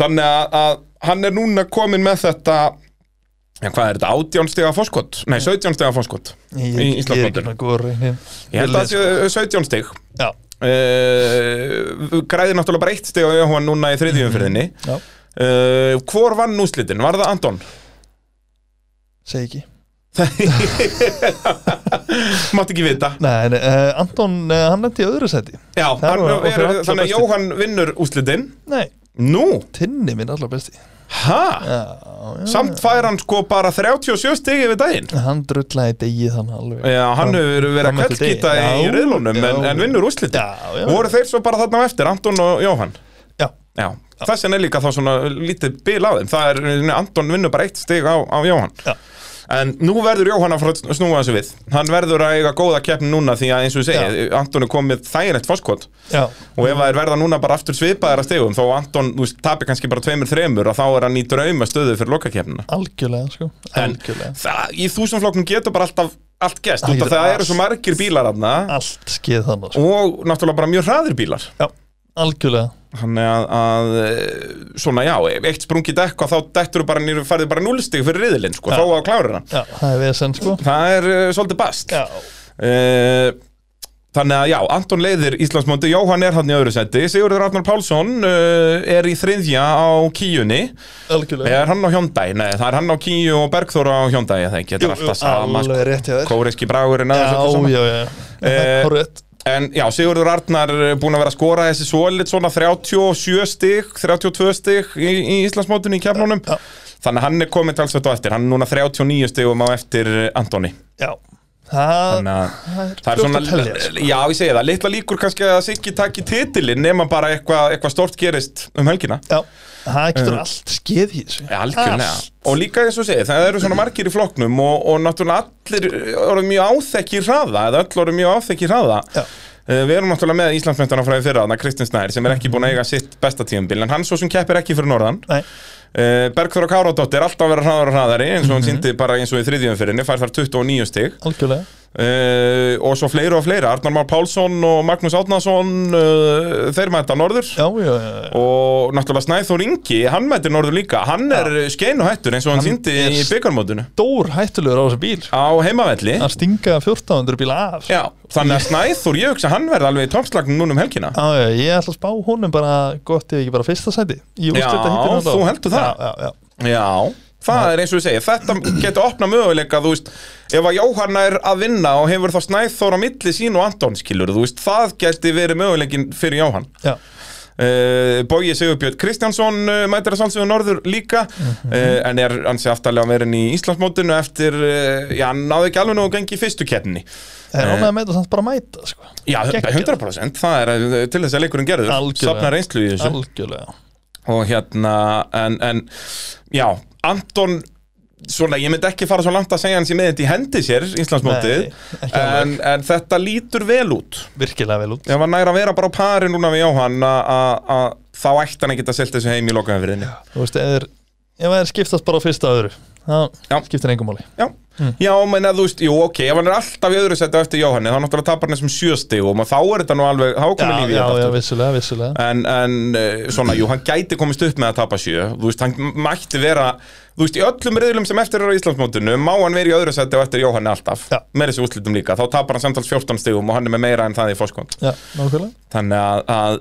[SPEAKER 1] Þannig að, að hann er núna komin með þetta Já, hvað er þetta? 18 stiga fórskot? Nei, 17 stiga fórskot í
[SPEAKER 2] ég, ég er ekki
[SPEAKER 1] Íslandsmótinu
[SPEAKER 2] með góður reynin
[SPEAKER 1] Ég held að það sé 17 stig
[SPEAKER 2] Já,
[SPEAKER 1] uh, græði náttúrulega bara eitt stig á Jóhann núna í þriðjumferðinni
[SPEAKER 2] já,
[SPEAKER 1] uh, Hvor vann úslitin? Var það Anton?
[SPEAKER 2] segi ekki
[SPEAKER 1] Mátt ekki vita
[SPEAKER 2] Nei, nei eh, Anton, eh, hann nefndi í öðru seti
[SPEAKER 1] Já,
[SPEAKER 2] Það
[SPEAKER 1] hann,
[SPEAKER 2] var
[SPEAKER 1] er,
[SPEAKER 2] okkar allra
[SPEAKER 1] Þannig að
[SPEAKER 2] besti.
[SPEAKER 1] Jóhann vinnur úslitin
[SPEAKER 2] Nei,
[SPEAKER 1] Nú,
[SPEAKER 2] Tinni minn allar besti
[SPEAKER 1] ha?
[SPEAKER 2] Já, já
[SPEAKER 1] Samt fær hann sko bara 37 stig yfir daginn
[SPEAKER 2] Hann drullaði degi þannig alveg
[SPEAKER 1] Já, hann hefur verið að
[SPEAKER 2] fram eftir
[SPEAKER 1] kveldskýta
[SPEAKER 2] degi.
[SPEAKER 1] í
[SPEAKER 2] Já,
[SPEAKER 1] riðlunum en,
[SPEAKER 2] já.
[SPEAKER 1] en vinnur úslitin
[SPEAKER 2] Já, já.
[SPEAKER 1] Voru þeir svo bara þarna á eftir, Anton og Jóhann
[SPEAKER 2] Já,
[SPEAKER 1] Já, þess vegna er líka þá svona lítið bil á þeim Það er, Anton vinnur bara eitt stig á, á Jóhann
[SPEAKER 2] já,
[SPEAKER 1] En nú verður Jóhann að fara að snúa þessu við Hann verður að eiga góða keppni núna Því að eins og við segja, Anton er komið þægilegt foskot
[SPEAKER 2] já
[SPEAKER 1] Og
[SPEAKER 2] Mm.
[SPEAKER 1] ef það er verða núna bara aftur svipaðar að stegum Þó að Anton, þú veist, tapir kannski bara tveimur þremur Og þá er hann í drauma stöðu fyrir lokakeppnina
[SPEAKER 2] Algjörlega, sko
[SPEAKER 1] En
[SPEAKER 2] Algjörlega
[SPEAKER 1] það, í þúsundflokknum getur bara alltaf allt gest Út
[SPEAKER 2] Það
[SPEAKER 1] af
[SPEAKER 2] getur
[SPEAKER 1] það
[SPEAKER 2] allt-
[SPEAKER 1] eru svo margir bílar aðna
[SPEAKER 2] Allt skeið þannig, sko
[SPEAKER 1] Og náttúrulega bara mjög hraðir bílar
[SPEAKER 2] Já, algjörlega
[SPEAKER 1] Þannig að, að eh, svona já, eitt sprungið dekk og þá dettur bara nýr, farið bara núlstig fyrir riðilinn sko,
[SPEAKER 2] Já.
[SPEAKER 1] þó að klára hana.
[SPEAKER 2] Já, það er vesen, sko
[SPEAKER 1] Það er uh, svolítið bast.
[SPEAKER 2] Já,
[SPEAKER 1] Eh, Þannig að já, Anton leiðir Íslandsmóti, Jóhann er hann í öðru seti, Sigurður Arnar Pálsson uh, er í þriðja á kíjunni,
[SPEAKER 2] algjörlega
[SPEAKER 1] er hann á hjóndæ, nei það er hann á kíju og Bergþóra á hjóndæ, ég þekki, þetta er alltaf sama, sko.
[SPEAKER 2] alveg rétt hjá þér
[SPEAKER 1] kóreski bragurinn
[SPEAKER 2] Já,
[SPEAKER 1] aðeins öllu saman.
[SPEAKER 2] já, já
[SPEAKER 1] Eh,
[SPEAKER 2] Hárið
[SPEAKER 1] En já, Sigurður Arnar er búinn að vera að skora þessi svolít svona 37 stig, 32 stig í, í Íslandsmótinu í kefnunum,
[SPEAKER 2] Já.
[SPEAKER 1] þannig að hann er komin talsveit á eftir, hann er núna 39 stigum á eftir Antoni.
[SPEAKER 2] Já, það
[SPEAKER 1] Þannig að
[SPEAKER 2] það er
[SPEAKER 1] Það er
[SPEAKER 2] fljótt
[SPEAKER 1] svona,
[SPEAKER 2] að telja sko.
[SPEAKER 1] já ég segi það, litla líkur kannski að Siggi takki titilinn nema bara eitthvað eitthva stort gerist um helgina
[SPEAKER 2] Já, það getur
[SPEAKER 1] Eh.
[SPEAKER 2] allt skeð í þessu
[SPEAKER 1] Ja, algjörlega.
[SPEAKER 2] Allt.
[SPEAKER 1] Og líka eins og segi, það eru svona margir í flokknum og, og náttúrulega allir eru mjög áþekki hraða, eða öll eru mjög áþekki hraða
[SPEAKER 2] Já.
[SPEAKER 1] Eh, Við erum náttúrulega með Íslandsmyndan á fræði fyrra, þannig að Kristinn Snær sem er ekki búin að eiga sitt besta tíumbil en hann svo sem keppir ekki fyrir norðan
[SPEAKER 2] Nei,
[SPEAKER 1] Eh, Bergþóra Káradóttir, alltaf að vera hraðar og hraðari eins
[SPEAKER 2] Mhm.
[SPEAKER 1] og hann síndi bara eins og í þriðjumfyrinni, fær þar 29 stig
[SPEAKER 2] algjörlega
[SPEAKER 1] Uh, og svo fleiri og fleiri Arnar Már Pálsson og Magnús Átnason uh, þeir mæta norður
[SPEAKER 2] Já, já, já, já.
[SPEAKER 1] og náttúrulega Snæþór Ingi hann mætir norður líka, hann er eh, skein og hættur eins og hann,
[SPEAKER 2] Hann
[SPEAKER 1] sýndi
[SPEAKER 2] er-
[SPEAKER 1] í byggarmótinu
[SPEAKER 2] Dór hættulegur á þessu bíl sko.
[SPEAKER 1] á heimavelli
[SPEAKER 2] Að stinga 1400 bíla af sko.
[SPEAKER 1] Já, þannig að Snæþór, ég hugsa að hann verði alveg í toppslagnum núna um helgina
[SPEAKER 2] Já, já, ég ætla að spá honum bara gott ef ekki bara fyrsta sæti Í úrslita
[SPEAKER 1] Já,
[SPEAKER 2] hittir
[SPEAKER 1] þú heldur það?
[SPEAKER 2] Já, já, já
[SPEAKER 1] Já, Það er eins og ég segi, þetta getur opnað möguleika, þú veist, ef að Jóhanna er að vinna og hefur þá snæþóra milli sín og Anton skilur, þú veist, það geti verið möguleikin fyrir Jóhann.
[SPEAKER 2] já,
[SPEAKER 1] Uh, Bógi Sigurbjörn Kristjánsson uh, mætir að sálsögur norður líka
[SPEAKER 2] Mhm.
[SPEAKER 1] uh, en er ansi aftalega verið í Íslandsmótinu eftir, uh, já, náði ekki alveg nú að gengi í fyrstu keppni
[SPEAKER 2] það
[SPEAKER 1] Eh.
[SPEAKER 2] er ánægð að mæta samt bara að mæta sko.
[SPEAKER 1] Já,
[SPEAKER 2] Geggjað.
[SPEAKER 1] 100% það er uh, til þess að leikurinn gerður
[SPEAKER 2] Algjörlega.
[SPEAKER 1] safnar reynslu í þessu
[SPEAKER 2] algjörlega
[SPEAKER 1] og hérna, en, en já, Anton svona, ég myndi ekki fara svo langt að segja hann sé með þetta í hendi sér, Íslandsmótið
[SPEAKER 2] Nei, ekki alveg.
[SPEAKER 1] en, en þetta lítur vel út
[SPEAKER 2] virkilega vel út
[SPEAKER 1] ef hann næra að vera bara á pari núna við Jóhann að- að að þá ætti hann ekki að selta þessu heim í lokaðanfyrinni
[SPEAKER 2] þú veist, ef þeir, ef þeir skiptast bara á fyrsta öðru það
[SPEAKER 1] Já.
[SPEAKER 2] skiptir engum máli
[SPEAKER 1] Já,
[SPEAKER 2] Hmm.
[SPEAKER 1] já, menn að þú veist, jú, ok, ef hann er alltaf í öðru setja eftir Jóhanni, þá náttúrulega tapar hann þessum sjöstigum og þá er þetta nú alveg, þá er
[SPEAKER 2] já,
[SPEAKER 1] komið lífið
[SPEAKER 2] já, já, vissulega, vissulega
[SPEAKER 1] En, en eh, svona, jú, hann gæti komist upp með að tapa sjö Þú veist, hann mætti vera Þú veist, í öllum riðlum sem eftir eru á Íslandsmótinu Má hann vera í öðru seti og eftir Jóhanni alltaf
[SPEAKER 2] Já.
[SPEAKER 1] Með þessu útlitum líka, þá tapar hann samtals 14 stigum Og hann er með meira en það í fórskond
[SPEAKER 2] já, nákvæmlega
[SPEAKER 1] Þannig að, að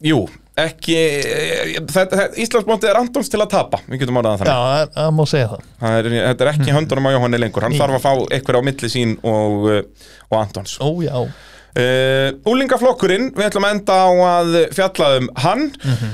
[SPEAKER 1] jú, ekki eh, þetta, þetta, Íslandsmótið er Antons til að tapa Við getum orðað það
[SPEAKER 2] já,
[SPEAKER 1] þannig
[SPEAKER 2] það er- það má segja það
[SPEAKER 1] Það er, Þetta er ekki í höndunum á Jóhanni lengur Hann þarf að fá eitthvað á milli sín og, eh, og Antons
[SPEAKER 2] ó, já,
[SPEAKER 1] Uh, Úlingaflokkurinn, við ætlum að enda á að fjalla um hann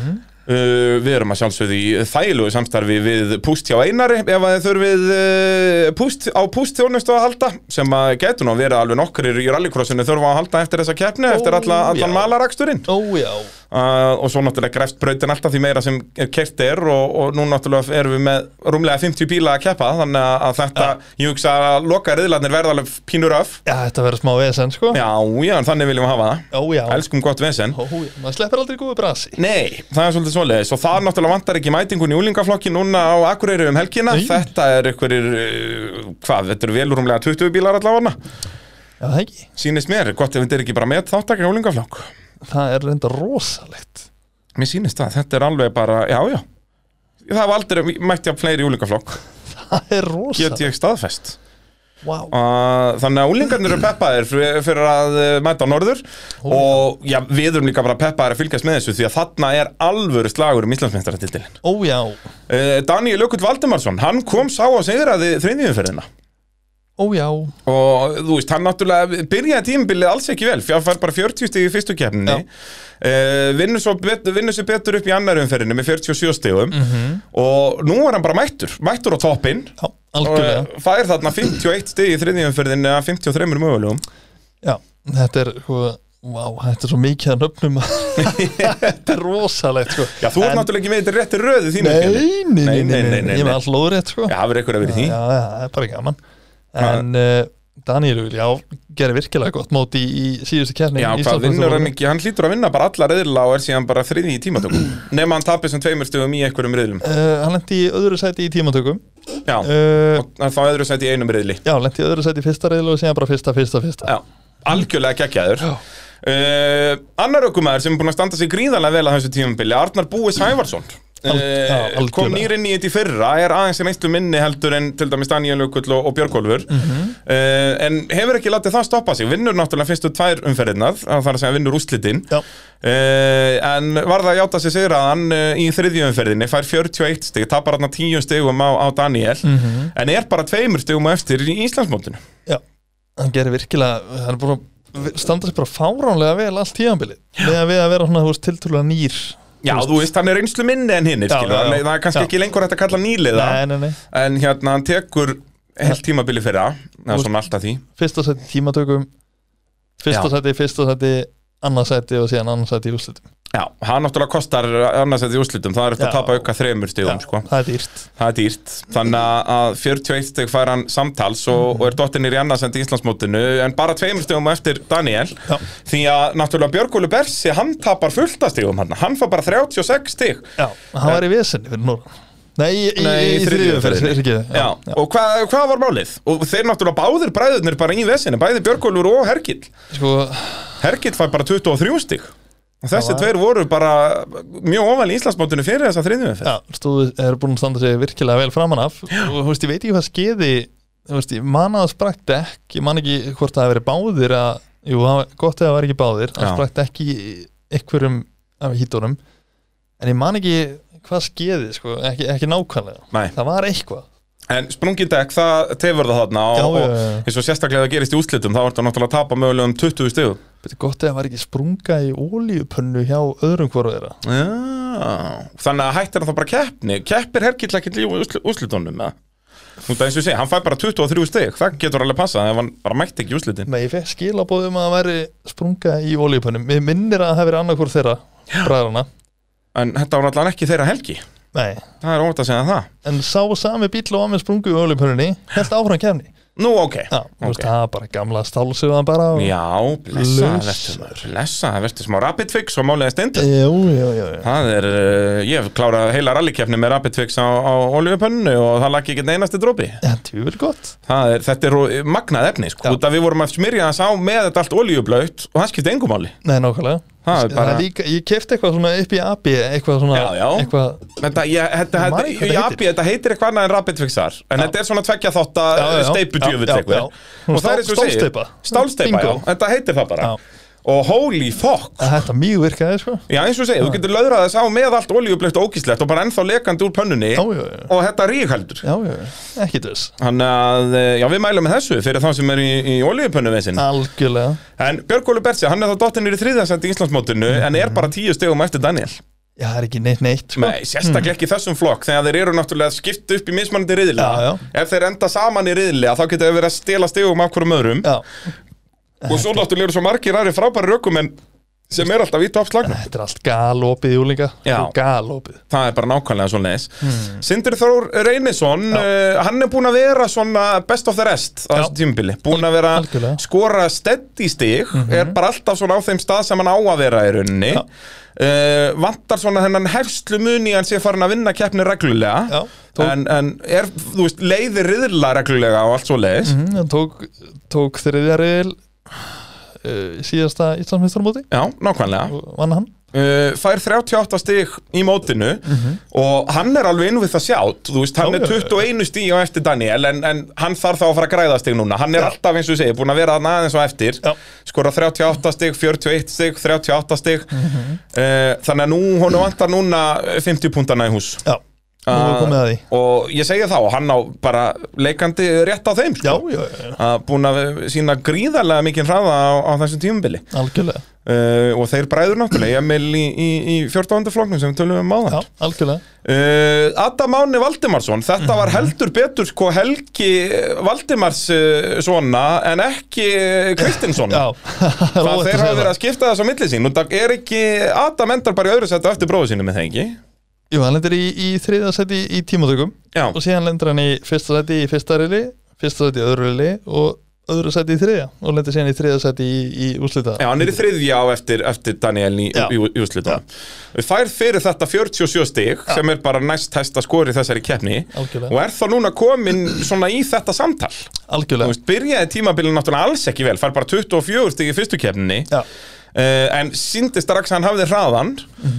[SPEAKER 1] uh, Við erum að sjálfsögðu í þægilegu samstarfi við Púst hjá Einari Ef að þið þurfið uh, púst, á Púst þjónustu að halda Sem að getur nú að vera alveg nokkurir í rallycrossinu þurfa að halda eftir þessa keppni Eftir alla,
[SPEAKER 2] já.
[SPEAKER 1] allan malaraksturinn
[SPEAKER 2] ó, já
[SPEAKER 1] uh, Og svo náttúrulega grefst brautin alltaf því meira sem kert er og, og nú náttúrulega erum við með rúmlega 50 bíla að keppa Þannig að- að þetta, ég hugsa að loka riðlarnir verða alveg pínur öf
[SPEAKER 2] já, þetta verður smá vesen, sko
[SPEAKER 1] Já, já, en þannig viljum við hafa það
[SPEAKER 2] ó, já,
[SPEAKER 1] Elskum gott vesen
[SPEAKER 2] ó, já, maður sleppir aldrei góðu brasi
[SPEAKER 1] Nei, það er svolítið svoleiðis og það náttúrulega vantar ekki mætingun í úlingaflokki núna á Akureyri um helgina
[SPEAKER 2] Nei.
[SPEAKER 1] Þetta er einhverjir, uh, hvað, þetta eru velurumlega 20 bílar allavega
[SPEAKER 2] já, það ekki
[SPEAKER 1] Sýnist mér, gott ef þetta er ekki bara með þáttakir í úlingaflokk
[SPEAKER 2] það er reynda rosalegt [laughs]
[SPEAKER 1] Mér sýnist það, þetta er alveg bara, já, já Það hafa aldrei mætti að fleiri í úlingaflokk
[SPEAKER 2] það er
[SPEAKER 1] Get
[SPEAKER 2] rosalegt
[SPEAKER 1] ég staðfest
[SPEAKER 2] wow.
[SPEAKER 1] Uh, Þannig að úlingarnir eru peppaðir fyr- fyrir að uh, mæta á norður og já, við erum líka bara peppaðir að fylgjast með þessu því að þarna er alvöru slagur um Íslandsmeistaratitilin
[SPEAKER 2] ó, já,
[SPEAKER 1] Uh, Daniel Jökull Valdimarsson, hann kom sá að segra þið þriðjumferðina
[SPEAKER 2] ó, já
[SPEAKER 1] og þú veist, hann náttúrulega byrjaði tímabilið alls ekki vel, fjár fær bara 40 stig í fyrstu keppninni
[SPEAKER 2] Já.
[SPEAKER 1] uh, vinnur, svo bet, vinnur sér betur upp í annar umferðinni með 47 stigum og nú er hann bara mættur, mættur á toppinn
[SPEAKER 2] já,
[SPEAKER 1] og
[SPEAKER 2] algjörlega
[SPEAKER 1] eh, fær þarna 51 stig í þriðjumferðinni að 53 mögulegum
[SPEAKER 2] Já, þetta er sko, wow, þetta er svo mikið að nöfnum [laughs] að þetta er rosalegt sko.
[SPEAKER 1] Já, þú ert
[SPEAKER 2] En-
[SPEAKER 1] náttúrulega ekki með þetta rétti röðu þínu skilur.
[SPEAKER 2] nei, nei, nei, nei,
[SPEAKER 1] nei, nei,
[SPEAKER 2] ég er
[SPEAKER 1] nei.
[SPEAKER 2] með allt lóðrétt sko.
[SPEAKER 1] Já, það verður eitthvað að vera í því
[SPEAKER 2] já, já, það er bara gaman en uh, Daniel Júl, já, gerir virkilega gott móti í, í síðustu kefni
[SPEAKER 1] Já, hvað vinnur hann ekki, hann hlýtur að vinna bara alla reyðla og er síðan bara þriði í tímatökum nema hann tapir sem tveimur stugum í einhverjum reyðlum
[SPEAKER 2] Uh, hann lendi í öðru sæti í tímatökum
[SPEAKER 1] Já,
[SPEAKER 2] uh,
[SPEAKER 1] og þá öðru sætt í einum reyðli
[SPEAKER 2] Já, lendi í öðru sæti í fyrsta reylu og síðan bara fyrsta, fyrsta, fyrsta
[SPEAKER 1] Já, algjörlega geggjaður
[SPEAKER 2] Já.
[SPEAKER 1] uh, Annar ökumæður sem er búin að standa sig gríðarlega vel að þessu tímabili Arnar Búi Sævarsson
[SPEAKER 2] Al- já,
[SPEAKER 1] Uh,
[SPEAKER 2] algjörlega.
[SPEAKER 1] kom nýr inn í þetta í fyrra er aðeins reynslu minni heldur en til dæmis Daniel Jökull og, og Björgólfur
[SPEAKER 2] Mhm.
[SPEAKER 1] uh, en hefur ekki látið það stoppa sig vinnur náttúrulega fyrstu tvær umferðinnar það er að segja vinnur úslitin
[SPEAKER 2] Já,
[SPEAKER 1] Uh, en varða að játa sig sigra að hann uh, í þriðjöfumferðinni fær 41 stig tapar hann 10 stigum á, á Daniel
[SPEAKER 2] Mhm.
[SPEAKER 1] en er bara tveimur stigum á eftir í Íslandsmótinu
[SPEAKER 2] já, hann gerir virkilega hann er búin að standa sér bara fáránlega vel allt tímabilið með að við að vera svona, þú veist, tiltúrulega nýr
[SPEAKER 1] Já, þú veist, hann er einslu minni en hinnir
[SPEAKER 2] Já, já, já.
[SPEAKER 1] það er kannski
[SPEAKER 2] Já.
[SPEAKER 1] ekki lengur hægt að kalla nýliða
[SPEAKER 2] Nei, nei, nei
[SPEAKER 1] en hérna, hann tekur heilt tímabili fyrra eða
[SPEAKER 2] Þú-
[SPEAKER 1] svona alltaf því
[SPEAKER 2] fyrsta sæti í tímatökum fyrsta
[SPEAKER 1] Já.
[SPEAKER 2] sæti, í fyrsta sæti í annað sæti og síðan annað sæti í úrslitum
[SPEAKER 1] Já, hann náttúrulega kostar annars að því úrslitum það er eftir að
[SPEAKER 2] Já.
[SPEAKER 1] tapa auka þreimur stigum sko.
[SPEAKER 2] það er dýrt
[SPEAKER 1] það er dýrt þannig að- að 41 steg fær hann samtals
[SPEAKER 2] Mhm.
[SPEAKER 1] og, og er dottinir í annarsendi Íslandsmótinu en bara tveimur stegum eftir Daniel
[SPEAKER 2] Já.
[SPEAKER 1] því að náttúrulega Björgólu Bersi hann tapar fullta stegum hann hann fær bara 36 steg
[SPEAKER 2] já, hann var í vesenni fyrir núna Eh. nei, í, í, í, í
[SPEAKER 1] þriðju
[SPEAKER 2] þriðju fyrir,
[SPEAKER 1] umferðinni.
[SPEAKER 2] fyrir ekki
[SPEAKER 1] Já. og hvað hva var málið? og þeir náttúrulega báðir bræðurnir bara í vesinu bæði Björgólur og Hergill
[SPEAKER 2] sko,
[SPEAKER 1] Hergill fær bara 23 steg og þessi
[SPEAKER 2] var-
[SPEAKER 1] tveir voru bara mjög ofal í Íslandsmótinu fyrir þessa þriðjum
[SPEAKER 2] já, stúðu er búin að standa sig virkilega vel framan af og þú veist, ég veit ekki hvað skeiði þú veist, ég man að það sprakk dekk ég man ekki hvort það hafi verið báðir að, jú, það var gott eða það var ekki báðir
[SPEAKER 1] Já.
[SPEAKER 2] það sprakk dekk í einhverjum af hítunum en ég man ekki hvað skeði sko, ekki, ekki nákvæmlega
[SPEAKER 1] Nei.
[SPEAKER 2] það var eitthvað
[SPEAKER 1] En sprungindekk, það tefur það þarna og,
[SPEAKER 2] Já, já,
[SPEAKER 1] og
[SPEAKER 2] já, já.
[SPEAKER 1] eins og sérstaklega það gerist í úslitum þá ertu náttúrulega að tapa mögulega um 20 stegum
[SPEAKER 2] Betur gott eða það var ekki sprunga í ólíupönnu hjá öðrum hvoru þeirra
[SPEAKER 1] Já, þannig að hættir það bara keppni Keppir herkill ekki í úsl- úrslitunum eða? Þú veist eins og ég segi, hann fær bara 23 steg Það getur alveg passað ef hann bara mætti ekki í úslitin
[SPEAKER 2] Nei, ég fekk skilabóð um að það væri sprunga í ólíupönnum Mér minnir að það hefur annað hvort þeirra bræðrana
[SPEAKER 1] En þetta var allan ekki þeirra helgi
[SPEAKER 2] Nei,
[SPEAKER 1] Það er óvægt að segja það
[SPEAKER 2] en sá sami bíl og var með sprungu í ólíupönnunni held áfram kefni
[SPEAKER 1] Nú, ok
[SPEAKER 2] Já, þú veist,
[SPEAKER 1] Ok.
[SPEAKER 2] það var bara gamla stálsuðan bara og...
[SPEAKER 1] Já, blessa,
[SPEAKER 2] Laus.
[SPEAKER 1] verður maður Blessa, verður smá rapid fix og málega stendur
[SPEAKER 2] Jú, jú, jú, jú.
[SPEAKER 1] Það er, uh, ég hef klárað heila rallikeppni með rapid fix á, á olíupönnu og það laki ekki einasti drópi
[SPEAKER 2] Já, tjúvel gott
[SPEAKER 1] Það er, þetta er ro- magnað efni, sko,
[SPEAKER 2] Já.
[SPEAKER 1] út að við vorum að smyrja þess á með þetta allt olíublögt og það skipti engum máli.
[SPEAKER 2] Nei, nákvæmlega
[SPEAKER 1] Það er
[SPEAKER 2] Það
[SPEAKER 1] bara,
[SPEAKER 2] er líka, ég kefti eitthvað svona upp í AB eitthvað svona,
[SPEAKER 1] Já, já.
[SPEAKER 2] eitthvað
[SPEAKER 1] þetta, ég, þetta,
[SPEAKER 2] Ég man
[SPEAKER 1] þetta,
[SPEAKER 2] ekki
[SPEAKER 1] ég,
[SPEAKER 2] hvað
[SPEAKER 1] ég,
[SPEAKER 2] það
[SPEAKER 1] appi, þetta heitir eitthvað annað en rapid fixar, en þetta er svona tveggja þátt að
[SPEAKER 2] Já, já, já.
[SPEAKER 1] steipudjöfull
[SPEAKER 2] Já, já,
[SPEAKER 1] eitthvað.
[SPEAKER 2] já. Hún
[SPEAKER 1] Og það er eins og
[SPEAKER 2] stál-
[SPEAKER 1] segir-
[SPEAKER 2] stálsteypa.
[SPEAKER 1] Stálsteypa,
[SPEAKER 2] Bingo.
[SPEAKER 1] já, þetta heitir það bara.
[SPEAKER 2] Já.
[SPEAKER 1] Og holy fuck,
[SPEAKER 2] að þetta mjög virkaði sko
[SPEAKER 1] já eins og segja, þú getur löðrað þess á með allt olíublögt og ógíslegt og bara ennþá lekandi úr pönnunni
[SPEAKER 2] Já, já, já.
[SPEAKER 1] og þetta ríkhaldur.
[SPEAKER 2] Já, já, já. ekki þess
[SPEAKER 1] Þannig að, eh, já við mælum með þessu fyrir þá sem er í, í olíupönnu veinsinn.
[SPEAKER 2] Algjörlega
[SPEAKER 1] En Björg Óli Bersi, hann er þá dottinir í þriðjasendi í Íslandsmótinu
[SPEAKER 2] Mhm.
[SPEAKER 1] en er bara tíu stegum eftir Daniel
[SPEAKER 2] Já, það er ekki neitt neitt sko.
[SPEAKER 1] Nei, sérstaklega ekki í þessum flokk þegar þeir eru náttúrulega skipt upp í mismanandi riðlega
[SPEAKER 2] Já, já.
[SPEAKER 1] Ef þeir enda saman í riðlega þá geta þeir verið að stela stegum af hverjum öðrum
[SPEAKER 2] Já,
[SPEAKER 1] og svo náttúrulega eru svo margir aðri frábæri rökum en sem er alltaf í toppslagnum
[SPEAKER 2] þetta er allt galopið júlinga
[SPEAKER 1] Já.
[SPEAKER 2] Galopið
[SPEAKER 1] Það er bara nákvæmlega svo leis
[SPEAKER 2] Hmm.
[SPEAKER 1] Sindri Þór Reynisson, uh, hann er búin að vera svona best of the rest á
[SPEAKER 2] Já.
[SPEAKER 1] þessu tímubili Búin að vera
[SPEAKER 2] Algjörlega. Mhm.
[SPEAKER 1] skora steady stig er bara alltaf svona á þeim stað sem hann á að vera í rauninni
[SPEAKER 2] Já.
[SPEAKER 1] uh, vantar svona hennan hefslu muni hann sé farin að vinna keppni reglulega
[SPEAKER 2] Já, tók-
[SPEAKER 1] en, en er, þú veist, leiði riðla reglulega og allt svo leiðis
[SPEAKER 2] mm, hann Tók, tók þriðja reyðil uh, síðasta Íslandsmeistarmóti
[SPEAKER 1] Já, nákvæmlega.
[SPEAKER 2] og vann hann
[SPEAKER 1] Uh, fær 38 stig í mótinu
[SPEAKER 2] Mhm.
[SPEAKER 1] og hann er alveg inn við það sjátt, þú veist, hann
[SPEAKER 2] Já,
[SPEAKER 1] er
[SPEAKER 2] já, já.
[SPEAKER 1] 21 stig á eftir Daniel en, en hann þarf þá að fara að græða stig núna. Hann er
[SPEAKER 2] Já.
[SPEAKER 1] alltaf eins og segir, búin að vera þarna aðeins og eftir,
[SPEAKER 2] Já.
[SPEAKER 1] skora 38 stig, 41 stig, 38 stig,
[SPEAKER 2] Mhm.
[SPEAKER 1] uh, þannig að nú, honum vantar núna 50 púntana í hús.
[SPEAKER 2] Já, nú er
[SPEAKER 1] Ah.
[SPEAKER 2] komið að því
[SPEAKER 1] Og ég segi þá, hann á bara leikandi rétt á þeim, sko.
[SPEAKER 2] Já, já, já,
[SPEAKER 1] Að búin að sína gríðarlega mikinn hraða á, á þessum tímubili.
[SPEAKER 2] algjörlega
[SPEAKER 1] Uh, og þeir bræður náttúrulega Emil í, í, í 14. flokknum sem við tölum um
[SPEAKER 2] Já,
[SPEAKER 1] áðan
[SPEAKER 2] algjörlega
[SPEAKER 1] uh, Adam Áni Valdimarsson
[SPEAKER 2] Mhm.
[SPEAKER 1] þetta var heldur betur sko Helgi Valdimars uh, svona en ekki Kristinssona
[SPEAKER 2] Já,
[SPEAKER 1] það þeir
[SPEAKER 2] Róa eftir
[SPEAKER 1] hafa
[SPEAKER 2] segja
[SPEAKER 1] verið að skipta þess á milli sín og það er ekki Adam endar bara í öðru setja eftir bróðu sínu með það ekki
[SPEAKER 2] Jú, hann lendir í, í þriða seti í tímatökum
[SPEAKER 1] Já.
[SPEAKER 2] og síðan lendir hann í fyrsta seti í fyrsta reyli, fyrsta seti í öðru reyli og öðru seti í þriða og lendir síðan í þriða seti í, í úslita
[SPEAKER 1] Já, hann er í þriðja á eftir, eftir Daniel í,
[SPEAKER 2] Já.
[SPEAKER 1] í, í úslitum Fær fyrir þetta 47 stig sem er bara næst hæsta skori í þessari keppni
[SPEAKER 2] Algjörlega.
[SPEAKER 1] og er þá núna komin svona í þetta samtal Þú
[SPEAKER 2] algjörlega
[SPEAKER 1] veist, byrjaði tímabilið náttúrulega alls ekki vel, fær bara 24 stig í fyrstu keppninni
[SPEAKER 2] Já,
[SPEAKER 1] uh, en síndi strax að hann hafði hraðan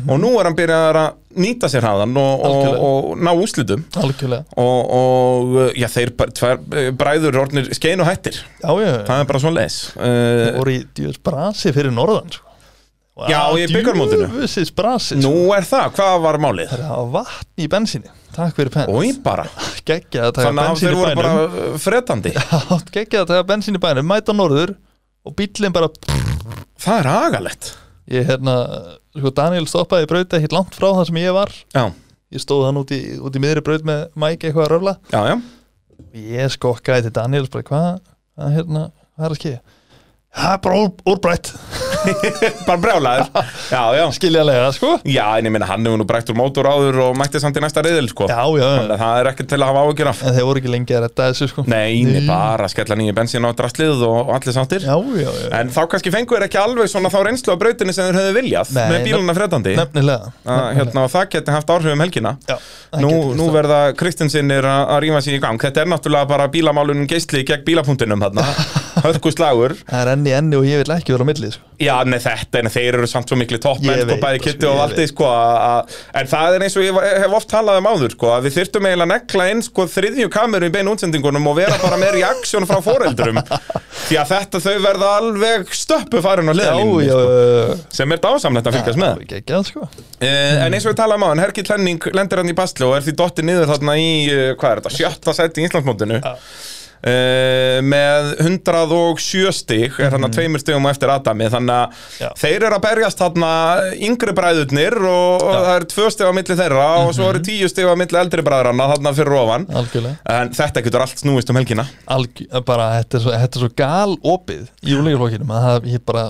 [SPEAKER 1] og nú er hann byrjaði að nýta sér hraðan og, og,
[SPEAKER 2] Mhm. Algjörlega.
[SPEAKER 1] og ná úslitum
[SPEAKER 2] algjörlega
[SPEAKER 1] og, og uh, já, þeir bara, tver, bræður orðnir skein og hættir
[SPEAKER 2] Já, já, já,
[SPEAKER 1] það er bara svo leis uh,
[SPEAKER 2] voru í djöfis brasi fyrir norðan sko. Vá,
[SPEAKER 1] Já, í bikarmótinu.
[SPEAKER 2] Djöfis brasi sko.
[SPEAKER 1] Nú er það, hvað var málið?
[SPEAKER 2] Það er að hafa vatn í bensinni Takk fyrir penn
[SPEAKER 1] Ói bara,
[SPEAKER 2] Gekkja að taka
[SPEAKER 1] þannig að
[SPEAKER 2] bensin
[SPEAKER 1] þeir
[SPEAKER 2] í
[SPEAKER 1] voru
[SPEAKER 2] bænum [laughs]
[SPEAKER 1] bara uh, fretandi
[SPEAKER 2] bara... Gekkja að taka bensin í bænum, mæta norður og bíllinn bara
[SPEAKER 1] Það er agalegt
[SPEAKER 2] Ég hérna, sko Daniel stoppaði í brauta hitt langt frá það sem ég var
[SPEAKER 1] Já,
[SPEAKER 2] ég stóð hann út í, út í miðri braut með Mike eitthvað að röfla
[SPEAKER 1] já, já,
[SPEAKER 2] og ég skokkaði til Daniels bara hvað hvað hérna, hvað er að skilja það er bara úr, úrbrætt
[SPEAKER 1] bara
[SPEAKER 2] [laughs]
[SPEAKER 1] brjálæður Já, já,
[SPEAKER 2] skiljalega sko
[SPEAKER 1] já, en ég minna hann hefur nú breytt úr mótor áður og mætti samt í næsta reyðil sko.
[SPEAKER 2] já, já,
[SPEAKER 1] Þannig
[SPEAKER 2] já.
[SPEAKER 1] að það er ekkert til að hafa áhyggjur af
[SPEAKER 2] en þeir voru ekki lengi að redda þessu sko
[SPEAKER 1] Nei, nei, bara skella nýju bensín á drastlið og allir sáttir
[SPEAKER 2] já, já, já,
[SPEAKER 1] En þá kannski fengu þér ekki alveg svona þá reynslu á brautinni sem þeir höfðu viljað
[SPEAKER 2] Nei,
[SPEAKER 1] með bíluna fredandi að,
[SPEAKER 2] nefnilega
[SPEAKER 1] hérna, og það geti haft áhrif um helgina
[SPEAKER 2] já, það
[SPEAKER 1] Nú,
[SPEAKER 2] getur
[SPEAKER 1] nú
[SPEAKER 2] það.
[SPEAKER 1] verða
[SPEAKER 2] [laughs]
[SPEAKER 1] Kristinsinnir að að rífa sér í gang Þetta er náttúrulega bara bílamálunum geisli gegn bílapunktinum þarna hörku slagur
[SPEAKER 2] það er enni enni og ég vil ekki vera á milli sko.
[SPEAKER 1] Já, nei þetta, en þeir eru samt svo miklu toppmenn,
[SPEAKER 2] Ég
[SPEAKER 1] sko,
[SPEAKER 2] veit,
[SPEAKER 1] bæði
[SPEAKER 2] sko,
[SPEAKER 1] Kitti og
[SPEAKER 2] ég
[SPEAKER 1] Valdi,
[SPEAKER 2] veit.
[SPEAKER 1] sko, að- að- en það er eins og ég var- hef oft talað um áður, sko, að við þyrftum eiginlega að negla inn, sko, þriðju kameru í beinu útsendingunum og vera bara með reaksjón frá
[SPEAKER 2] [laughs]
[SPEAKER 1] foreldrum, því að þetta þau verða alveg stöppu farin á
[SPEAKER 2] Já,
[SPEAKER 1] leðalínu,
[SPEAKER 2] já,
[SPEAKER 1] sko,
[SPEAKER 2] já,
[SPEAKER 1] sem er dásamlegt að fylgjast með.
[SPEAKER 2] já Geggjað sko
[SPEAKER 1] Uh, en eins og við talaðum á, en Herki Tlenning lendir hann í basli og er því dottir niður þarna í, uh, hvað er þetta, sjötta seti í Íslandsmótinu uh, með 107 stig, er hann að tveimur stigum á eftir Adami, þannig að
[SPEAKER 2] Já.
[SPEAKER 1] þeir eru að berjast þarna yngri bræðurnir og, og það eru tvö stig á milli þeirra og svo eru tíu stig á milli eldri bræðrana þarna fyrir ofan.
[SPEAKER 2] Algjörlega
[SPEAKER 1] En þetta getur allt snúist um helgina.
[SPEAKER 2] Algjör, bara, þetta er svo, þetta er svo gal opið í úrleikaflokkinum að það, ég bara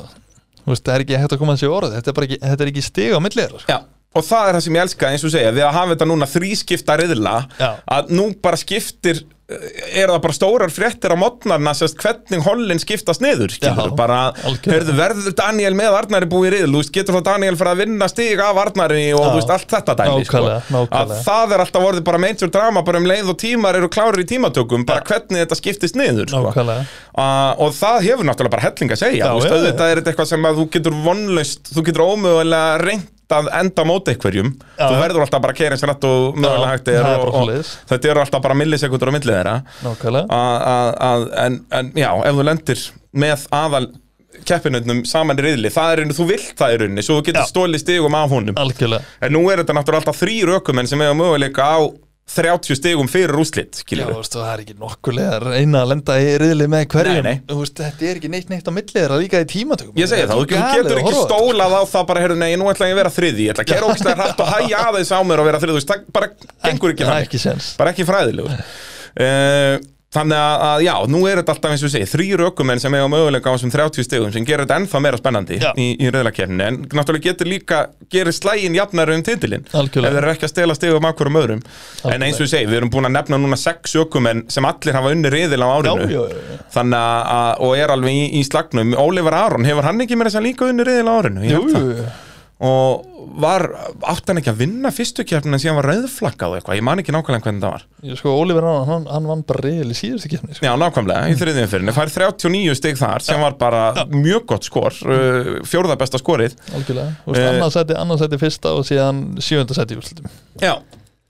[SPEAKER 2] þú veist, það er ekki hægt að koma þessi orð þetta er, bara ekki, þetta er ekki stig á milli þeirra sko.
[SPEAKER 1] Já. Og það er það sem ég elska, eins og segja, við að hafa þetta núna þrískipta riðla,
[SPEAKER 2] Já.
[SPEAKER 1] að nú bara skiptir, eh, eru það bara stórar fréttir á modnarna, sérst hvernig hollin skiptast niður, skilur,
[SPEAKER 2] Já,
[SPEAKER 1] bara,
[SPEAKER 2] algjörlega.
[SPEAKER 1] heyrðu, verður Daniel með Arnari búið í riðl, þú veist, getur þá Daniel fyrir að vinna stig af Arnari og
[SPEAKER 2] Já.
[SPEAKER 1] þú veist, allt þetta dæmi,
[SPEAKER 2] Nákvæmlega,
[SPEAKER 1] sko, að
[SPEAKER 2] nákvæmlega.
[SPEAKER 1] það er alltaf orðið bara meinsur drama, bara um leið og tímar eru klárir í tímatökum, bara hvernig þetta skiptist niður, sko.
[SPEAKER 2] Nákvæmlega.
[SPEAKER 1] Uh, og það hefur náttúrulega bara helling að segja
[SPEAKER 2] Já,
[SPEAKER 1] Þú veist,
[SPEAKER 2] já,
[SPEAKER 1] auðvitað er þetta eitthvað sem að þú getur vonlaust þú getur ómögulega reynt að enda á móti einhverjum,
[SPEAKER 2] Já.
[SPEAKER 1] þú verður alltaf bara að keira eins og nætt og mögulega
[SPEAKER 2] Já,
[SPEAKER 1] hægt er,
[SPEAKER 2] það er
[SPEAKER 1] og,
[SPEAKER 2] bara
[SPEAKER 1] og,
[SPEAKER 2] svoleiðis.
[SPEAKER 1] þetta eru alltaf bara millisekundur á milli þeirra
[SPEAKER 2] Nákvæmlega
[SPEAKER 1] að, að, að, en, en já, ef þú lendir með aðal keppinöndum saman í riðli, það er einu, þú vilt það í rauninni, svo þú getur
[SPEAKER 2] Já.
[SPEAKER 1] stólið stigum af honum
[SPEAKER 2] Algjörlega
[SPEAKER 1] en nú er þetta náttúrulega alltaf þrýr ökumenn sem hefur möguleika á 30 stigum fyrir úslit,
[SPEAKER 2] Já,
[SPEAKER 1] skiljum
[SPEAKER 2] þú veist, og það er ekki nokkulega að reyna að lenda í riðli með hverjum
[SPEAKER 1] Nei, nei.
[SPEAKER 2] Þú veist, Þetta er ekki neitt neitt á milli þeirra líka í tímatökum
[SPEAKER 1] Ég segi það, þú
[SPEAKER 2] Galið
[SPEAKER 1] getur
[SPEAKER 2] að
[SPEAKER 1] ekki
[SPEAKER 2] horfa á þetta. sko.
[SPEAKER 1] stólað á það bara, heyrðu, nei, nú ætla ég að vera þriði, ég ætla að gera ógstæða hrætt og hæja aðeins á mér og vera þriði, þú veist, það bara gengur ekki
[SPEAKER 2] Það er
[SPEAKER 1] þannig,
[SPEAKER 2] ekki sens
[SPEAKER 1] bara ekki fræðilegur. Uh, þannig að, að, já, nú er þetta alltaf eins og segi, þrýr ökumenn sem eiga möguleika á þessum 30 stegum sem gerir þetta ennþá meira spennandi
[SPEAKER 2] Já.
[SPEAKER 1] í, í reyðlakefninu, en náttúrulega getur líka, gerir slægin jafnari um titilinn, ef
[SPEAKER 2] Algjörlega.
[SPEAKER 1] þeir eru ekki að stela stegum akkur um öðrum. En eins og segi, við erum búin að nefna núna sex ökumenn sem allir hafa unni reyðil á
[SPEAKER 2] Já,
[SPEAKER 1] árinu
[SPEAKER 2] já, já, já.
[SPEAKER 1] þannig að- að, og er alveg í, í slagnum Ólifur Aron, hefur hann ekki með þess að líka unni reyðilega árinu? Ég
[SPEAKER 2] Jú,
[SPEAKER 1] held það.
[SPEAKER 2] jú, jú.
[SPEAKER 1] og var, átti hann ekki að vinna fyrstu kjörnum en síðan var rauðflakkað og eitthvað, ég man ekki nákvæmlega hvernig það var
[SPEAKER 2] Ég Sko, Oliver Annan, hann, hann vann bara reyðil í síðustu kefni sko.
[SPEAKER 1] Já, nákvæmlega, í þriðjum fyrir, fær 39 stig þar sem var bara mjög gott skor uh, fjórða besta skorið
[SPEAKER 2] Algjörlega Þú veist,
[SPEAKER 1] Eh.
[SPEAKER 2] annars seti, annars seti fyrsta og síðan sjöunda seti í úrslitum
[SPEAKER 1] Já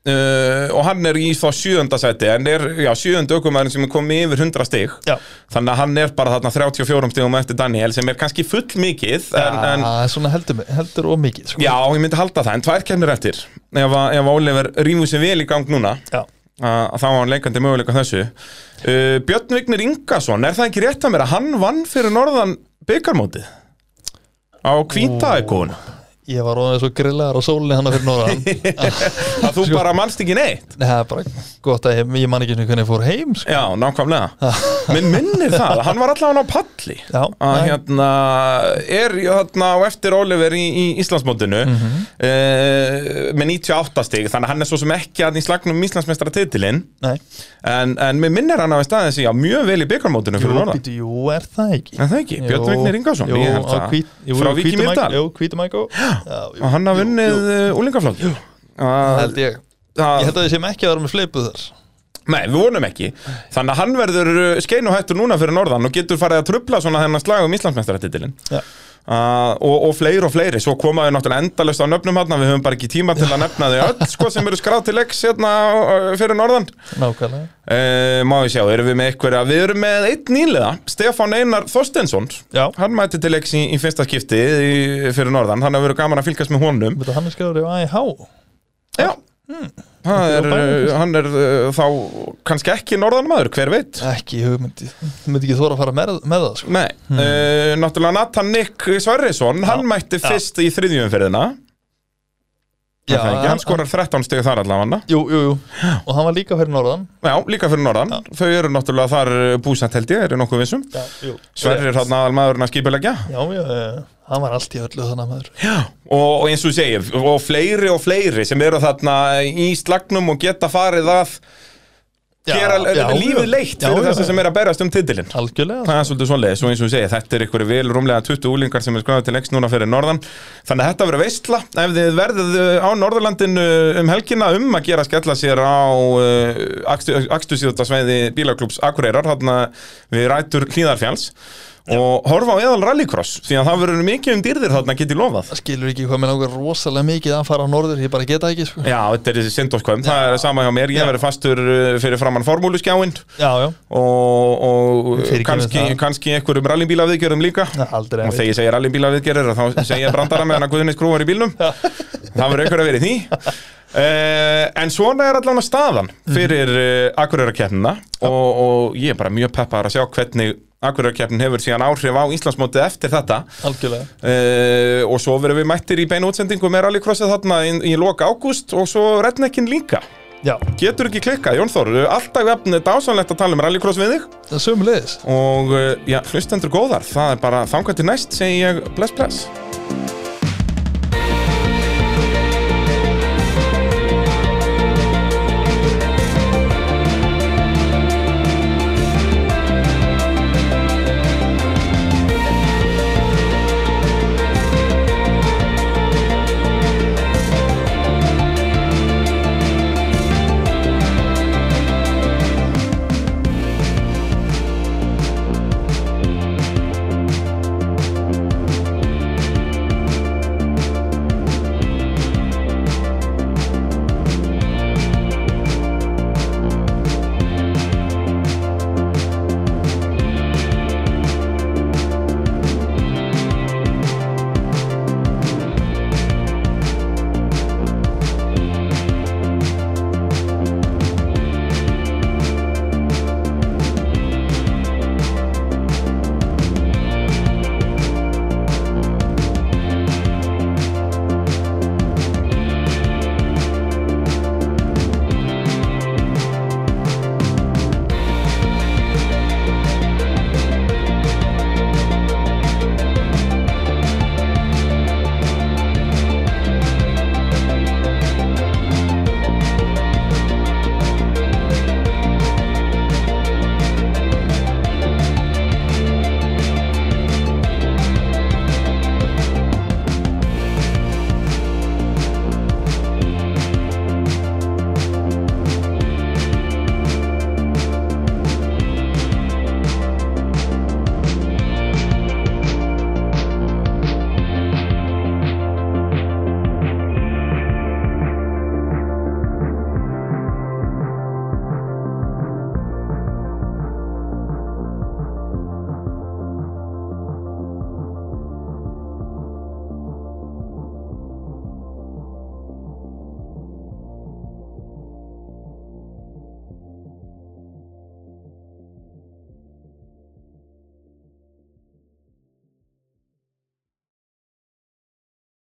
[SPEAKER 1] Uh, og hann er í þá sjöunda seti en er, já, sjöunda aukumæðurinn sem er komið yfir 100 stig
[SPEAKER 2] Já.
[SPEAKER 1] þannig að hann er bara þarna 34 stigum eftir Daniel sem er kannski full mikið en, en
[SPEAKER 2] Það er Ah, svona heldur, heldur og mikið sko.
[SPEAKER 1] Já, ég myndi halda það, en tvær kemur eftir ef, að- ef Oliver rýmur sér vel í gang núna
[SPEAKER 2] Já.
[SPEAKER 1] að að þá var hann leikandi möguleika á þessu uh, Björn Vignir Ingason, er það ekki rétt að mér að hann vann fyrir norðan byggarmótið á kvítaekon
[SPEAKER 2] Ég var orðin svo grillaður á sólinni hann fyrir norðan
[SPEAKER 1] [laughs] að þú bara mannst ekki neitt
[SPEAKER 2] Nei, það er bara gott að ég, ég man ekki einu sinni hvernig ég fór heim sko.
[SPEAKER 1] Já, nákvæmlega Minn minnir það, að hann var allavega á palli
[SPEAKER 2] Já,
[SPEAKER 1] að
[SPEAKER 2] nei.
[SPEAKER 1] hérna er hérna á eftir Oliver í, í Íslandsmótinu mm með 98 stig þannig að hann er svo sem ekki að í slagnum Íslandsmeistra titilinn
[SPEAKER 2] Nei,
[SPEAKER 1] En, en mér minnir hann á einn staðið sem já, mjög vel í byggarmótinu fyrir
[SPEAKER 2] jú,
[SPEAKER 1] norðan.
[SPEAKER 2] býtu, jú, er það ekki
[SPEAKER 1] En það ekki,
[SPEAKER 2] Jú.
[SPEAKER 1] Björn Vignir Ingarsson,
[SPEAKER 2] Jú,
[SPEAKER 1] ég held
[SPEAKER 2] á
[SPEAKER 1] það.
[SPEAKER 2] hvít- jú,
[SPEAKER 1] Frá
[SPEAKER 2] jú,
[SPEAKER 1] Vík í
[SPEAKER 2] hvítu Mike-
[SPEAKER 1] Mýrdal.
[SPEAKER 2] Jú, hvítu mækó
[SPEAKER 1] Og hann eh, hafði unnið úlingaflokki.
[SPEAKER 2] Held ég Ég held að við séum ekki að vera með fleipu þar
[SPEAKER 1] Nei, við vonum ekki. Þannig að hann verður uh, skein og hættur núna fyrir norðan og getur farið að trubla svona þennan slag um Íslandsmeistaratitilinn.
[SPEAKER 2] Já.
[SPEAKER 1] Uh, og, og fleiri og fleiri, svo komaðu náttúrulega endalust á nöfnum hann, við höfum bara ekki tíma til að nefna þau öll, sko, sem eru skráð til X hérna uh, fyrir norðan.
[SPEAKER 2] Nákvæmlega
[SPEAKER 1] Uh, má við sjá, erum við með einhverja Við erum með einn nýlega, Stefán Einar Þorstensson
[SPEAKER 2] Já.
[SPEAKER 1] Hann mætti til leiks í, í fyrsta skipti í, fyrir norðan Þannig að vera gaman að fylgjast með honum
[SPEAKER 2] Þetta hann er skjáður í AIH
[SPEAKER 1] Já Það
[SPEAKER 2] Þetta er
[SPEAKER 1] er,
[SPEAKER 2] á bænum,
[SPEAKER 1] uh, hann er uh, þá kannski ekki norðanmaður, hver veit
[SPEAKER 2] Ekki hugmyndi Þú myndi ekki þóra að fara með, með það sko.
[SPEAKER 1] Nei, uh, náttúrulega Nathan Nick Sverrisson, hann mætti
[SPEAKER 2] Já.
[SPEAKER 1] fyrst í þriðjum fyrirna Já, hann, hann skorar 13 stig þar allavega
[SPEAKER 2] sko, Jú, jú, jú Og hann var líka fyrir norðan
[SPEAKER 1] Já, líka fyrir norðan, þau eru náttúrulega þar búsant held ég, eru nokkuð vissum
[SPEAKER 2] Já, jú
[SPEAKER 1] Sverrir hann aðal maðurinn að skipulegja
[SPEAKER 2] Já, já, já, hann var allt í öllu þannig maður
[SPEAKER 1] og, og eins og ég segi, og fleiri og fleiri sem eru þarna í slagnum og geta farið að
[SPEAKER 2] Já,
[SPEAKER 1] gera
[SPEAKER 2] já,
[SPEAKER 1] lífið
[SPEAKER 2] já.
[SPEAKER 1] leitt
[SPEAKER 2] Já,
[SPEAKER 1] fyrir
[SPEAKER 2] já.
[SPEAKER 1] þessi sem er að berjast um titilinn
[SPEAKER 2] algjörlega
[SPEAKER 1] Það er svolítið svoleiðis og eins og ég segi, þetta er ykkur vel rúmlega 20 úlingar sem er skráðið til lengst núna fyrir norðan Þannig að þetta verður veistla ef þið verðið uh, á Norðurlandinu um helgina um að gera skella sér á uh, akstusíðutasveiði bílaklúps Akureyrar þarna við rætur hlíðarfjáls og horfa á eðal rallycross því að það verður mikið um dýrðir þarna get ég lofað
[SPEAKER 2] það skilur ekki hvað mér langar rosalega mikið að fara á norður, ég bara geta ekki sko.
[SPEAKER 1] Já, þetta er þessi syndoskvæm, það er sama hjá mér, ég verður fastur uh, fyrir framann formúluskjáinn
[SPEAKER 2] já, já,
[SPEAKER 1] og, og
[SPEAKER 2] Fyrirgefum
[SPEAKER 1] kannski,
[SPEAKER 2] það.
[SPEAKER 1] kannski einhverjum rallybílaviðgerðum líka
[SPEAKER 2] Já, aldrei að
[SPEAKER 1] og þegar ég segja rallybílaviðgerðir þá segja ég brandara meðan að Guðinni skrúfar í bílnum það verður einhver að vera í því uh, en svona er allan að staðan
[SPEAKER 2] Mhm.
[SPEAKER 1] fyrir uh, Akureyrakeppnina og, og ég er bara mjög peppar að sjá hvernig Akureyrakeppnin hefur síðan áhrif á Íslandsmótið eftir þetta
[SPEAKER 2] algjörlega
[SPEAKER 1] uh, og svo verðum við mættir í beinu útsendingu með rallycrossið þarna í, í loka ágúst og svo rednekkin líka
[SPEAKER 2] já,
[SPEAKER 1] getur ekki klikkað, Jón Þór alltaf jafn dásanlegt að tala um rallycross við þig
[SPEAKER 2] sömulegis
[SPEAKER 1] eh, og uh, já, hlustendur góðar það er bara þangað til næst segi ég bless bless